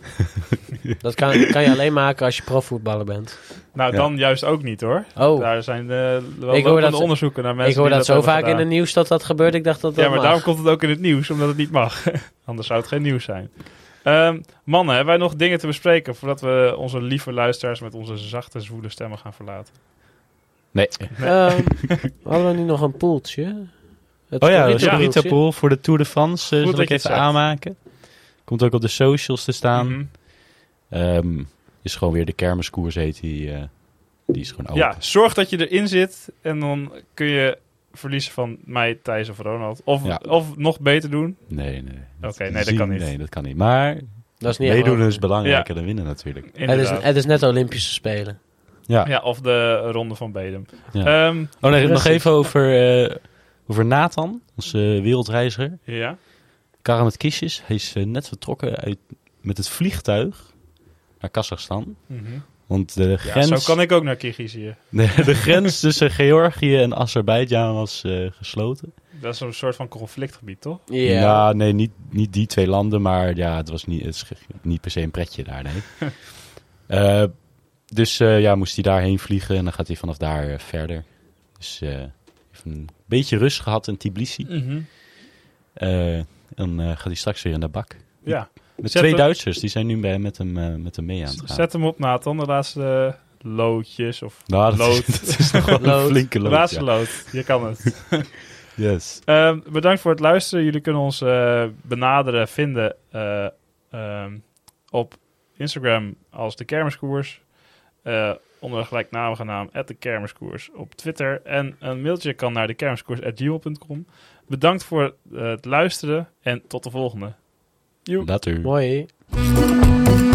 Speaker 3: dat kan, kan je alleen maken als je profvoetballer bent.
Speaker 1: Nou,
Speaker 2: Ja.
Speaker 1: dan juist ook niet hoor.
Speaker 3: Oh,
Speaker 1: Daar zijn eh wel
Speaker 3: Ik hoor
Speaker 1: lopende
Speaker 3: dat-
Speaker 1: onderzoeken naar mensen
Speaker 3: ik hoor
Speaker 1: die
Speaker 3: dat, zo
Speaker 1: hebben
Speaker 3: vaak in
Speaker 1: gedaan.
Speaker 3: het nieuws dat dat gebeurt. Ik dacht dat dat
Speaker 1: Ja, maar
Speaker 3: mag.
Speaker 1: daarom komt het ook in het nieuws, omdat het niet mag. Anders zou het geen nieuws zijn. Ehm, mannen, hebben wij nog dingen te bespreken voordat we onze lieve luisteraars met onze zachte, zwoele stemmen gaan verlaten?
Speaker 2: Nee.
Speaker 3: Ehm, hadden we niet nog een poeltje? Het
Speaker 2: Oh ja,
Speaker 3: Corito
Speaker 2: Rita
Speaker 3: poeltje.
Speaker 2: Pool voor de Tour de France. eh,
Speaker 1: Goed
Speaker 2: zal
Speaker 1: dat
Speaker 2: ik
Speaker 1: je het
Speaker 2: even
Speaker 1: zegt.
Speaker 2: aanmaken. Komt ook op de socials te staan.
Speaker 1: Mhm.
Speaker 2: Ehm, is gewoon weer de kermiskoers heet die. eh, die is gewoon open.
Speaker 1: Ja, zorg dat je erin zit en dan kun je verliezen van mij, Thijs of Ronald. Of,
Speaker 2: Ja.
Speaker 1: of nog beter doen.
Speaker 2: Nee, nee.
Speaker 1: Oké, nee, dat kan niet.
Speaker 2: Nee, dat kan niet. Maar
Speaker 3: Dat is niet echt
Speaker 2: meedoen
Speaker 3: waar.
Speaker 2: is belangrijker dan winnen natuurlijk.
Speaker 3: het is,
Speaker 1: Inderdaad.
Speaker 3: het is net Olympische Spelen.
Speaker 2: Ja.
Speaker 1: Ja, of de Ronde van Bedum.
Speaker 2: Ja.
Speaker 1: Ehm,
Speaker 2: Oh nee, nog
Speaker 3: Precies.
Speaker 2: even over, eh, over Nathan, onze eh, wereldreiziger.
Speaker 1: ja.
Speaker 2: Karren met kistjes. Hij is eh, net vertrokken uit, met het vliegtuig naar Kazachstan.
Speaker 1: Mhm.
Speaker 2: Want de
Speaker 1: Ja,
Speaker 2: grens,
Speaker 1: Zo kan ik ook naar Kirgizië.
Speaker 2: de, de grens tussen Georgië en Azerbeidzjan was eh, gesloten.
Speaker 1: Dat is een soort van conflictgebied, toch?
Speaker 3: Ja.
Speaker 2: Ja, nee, niet, niet die twee landen, maar ja, het was niet, het is ge- niet per se een pretje daar, nee. Eh, dus eh, ja, moest hij daarheen vliegen en dan gaat hij vanaf daar eh, verder. Dus eh, heeft een beetje rust gehad in Tbilisi. Eh, en eh, gaat hij straks weer in de bak.
Speaker 1: Ja.
Speaker 2: Met
Speaker 1: Zet
Speaker 2: twee
Speaker 1: hem-
Speaker 2: Duitsers, die zijn nu bij, met, hem, eh, met hem mee aan het gaan.
Speaker 1: Zet hem op, Nathan. De laatste eh, loodjes of
Speaker 2: nou, dat,
Speaker 1: lood.
Speaker 2: Is, dat is nog wel een
Speaker 3: Lood.
Speaker 2: flinke
Speaker 1: De
Speaker 2: lood.
Speaker 1: laatste
Speaker 2: ja.
Speaker 1: lood. Je kan het.
Speaker 2: Yes.
Speaker 1: Ehm, bedankt voor het luisteren. Jullie kunnen ons eh, benaderen, vinden eh, ehm, op Instagram als de Kermiskoers. Eh, onder de gelijknamige naam de Kermiskoers op Twitter. En een mailtje kan naar de kermiskoers.gmail.com. Bedankt voor eh, het luisteren en tot de volgende. Joep.
Speaker 2: Later.
Speaker 3: Mooi.
Speaker 6: Ballon,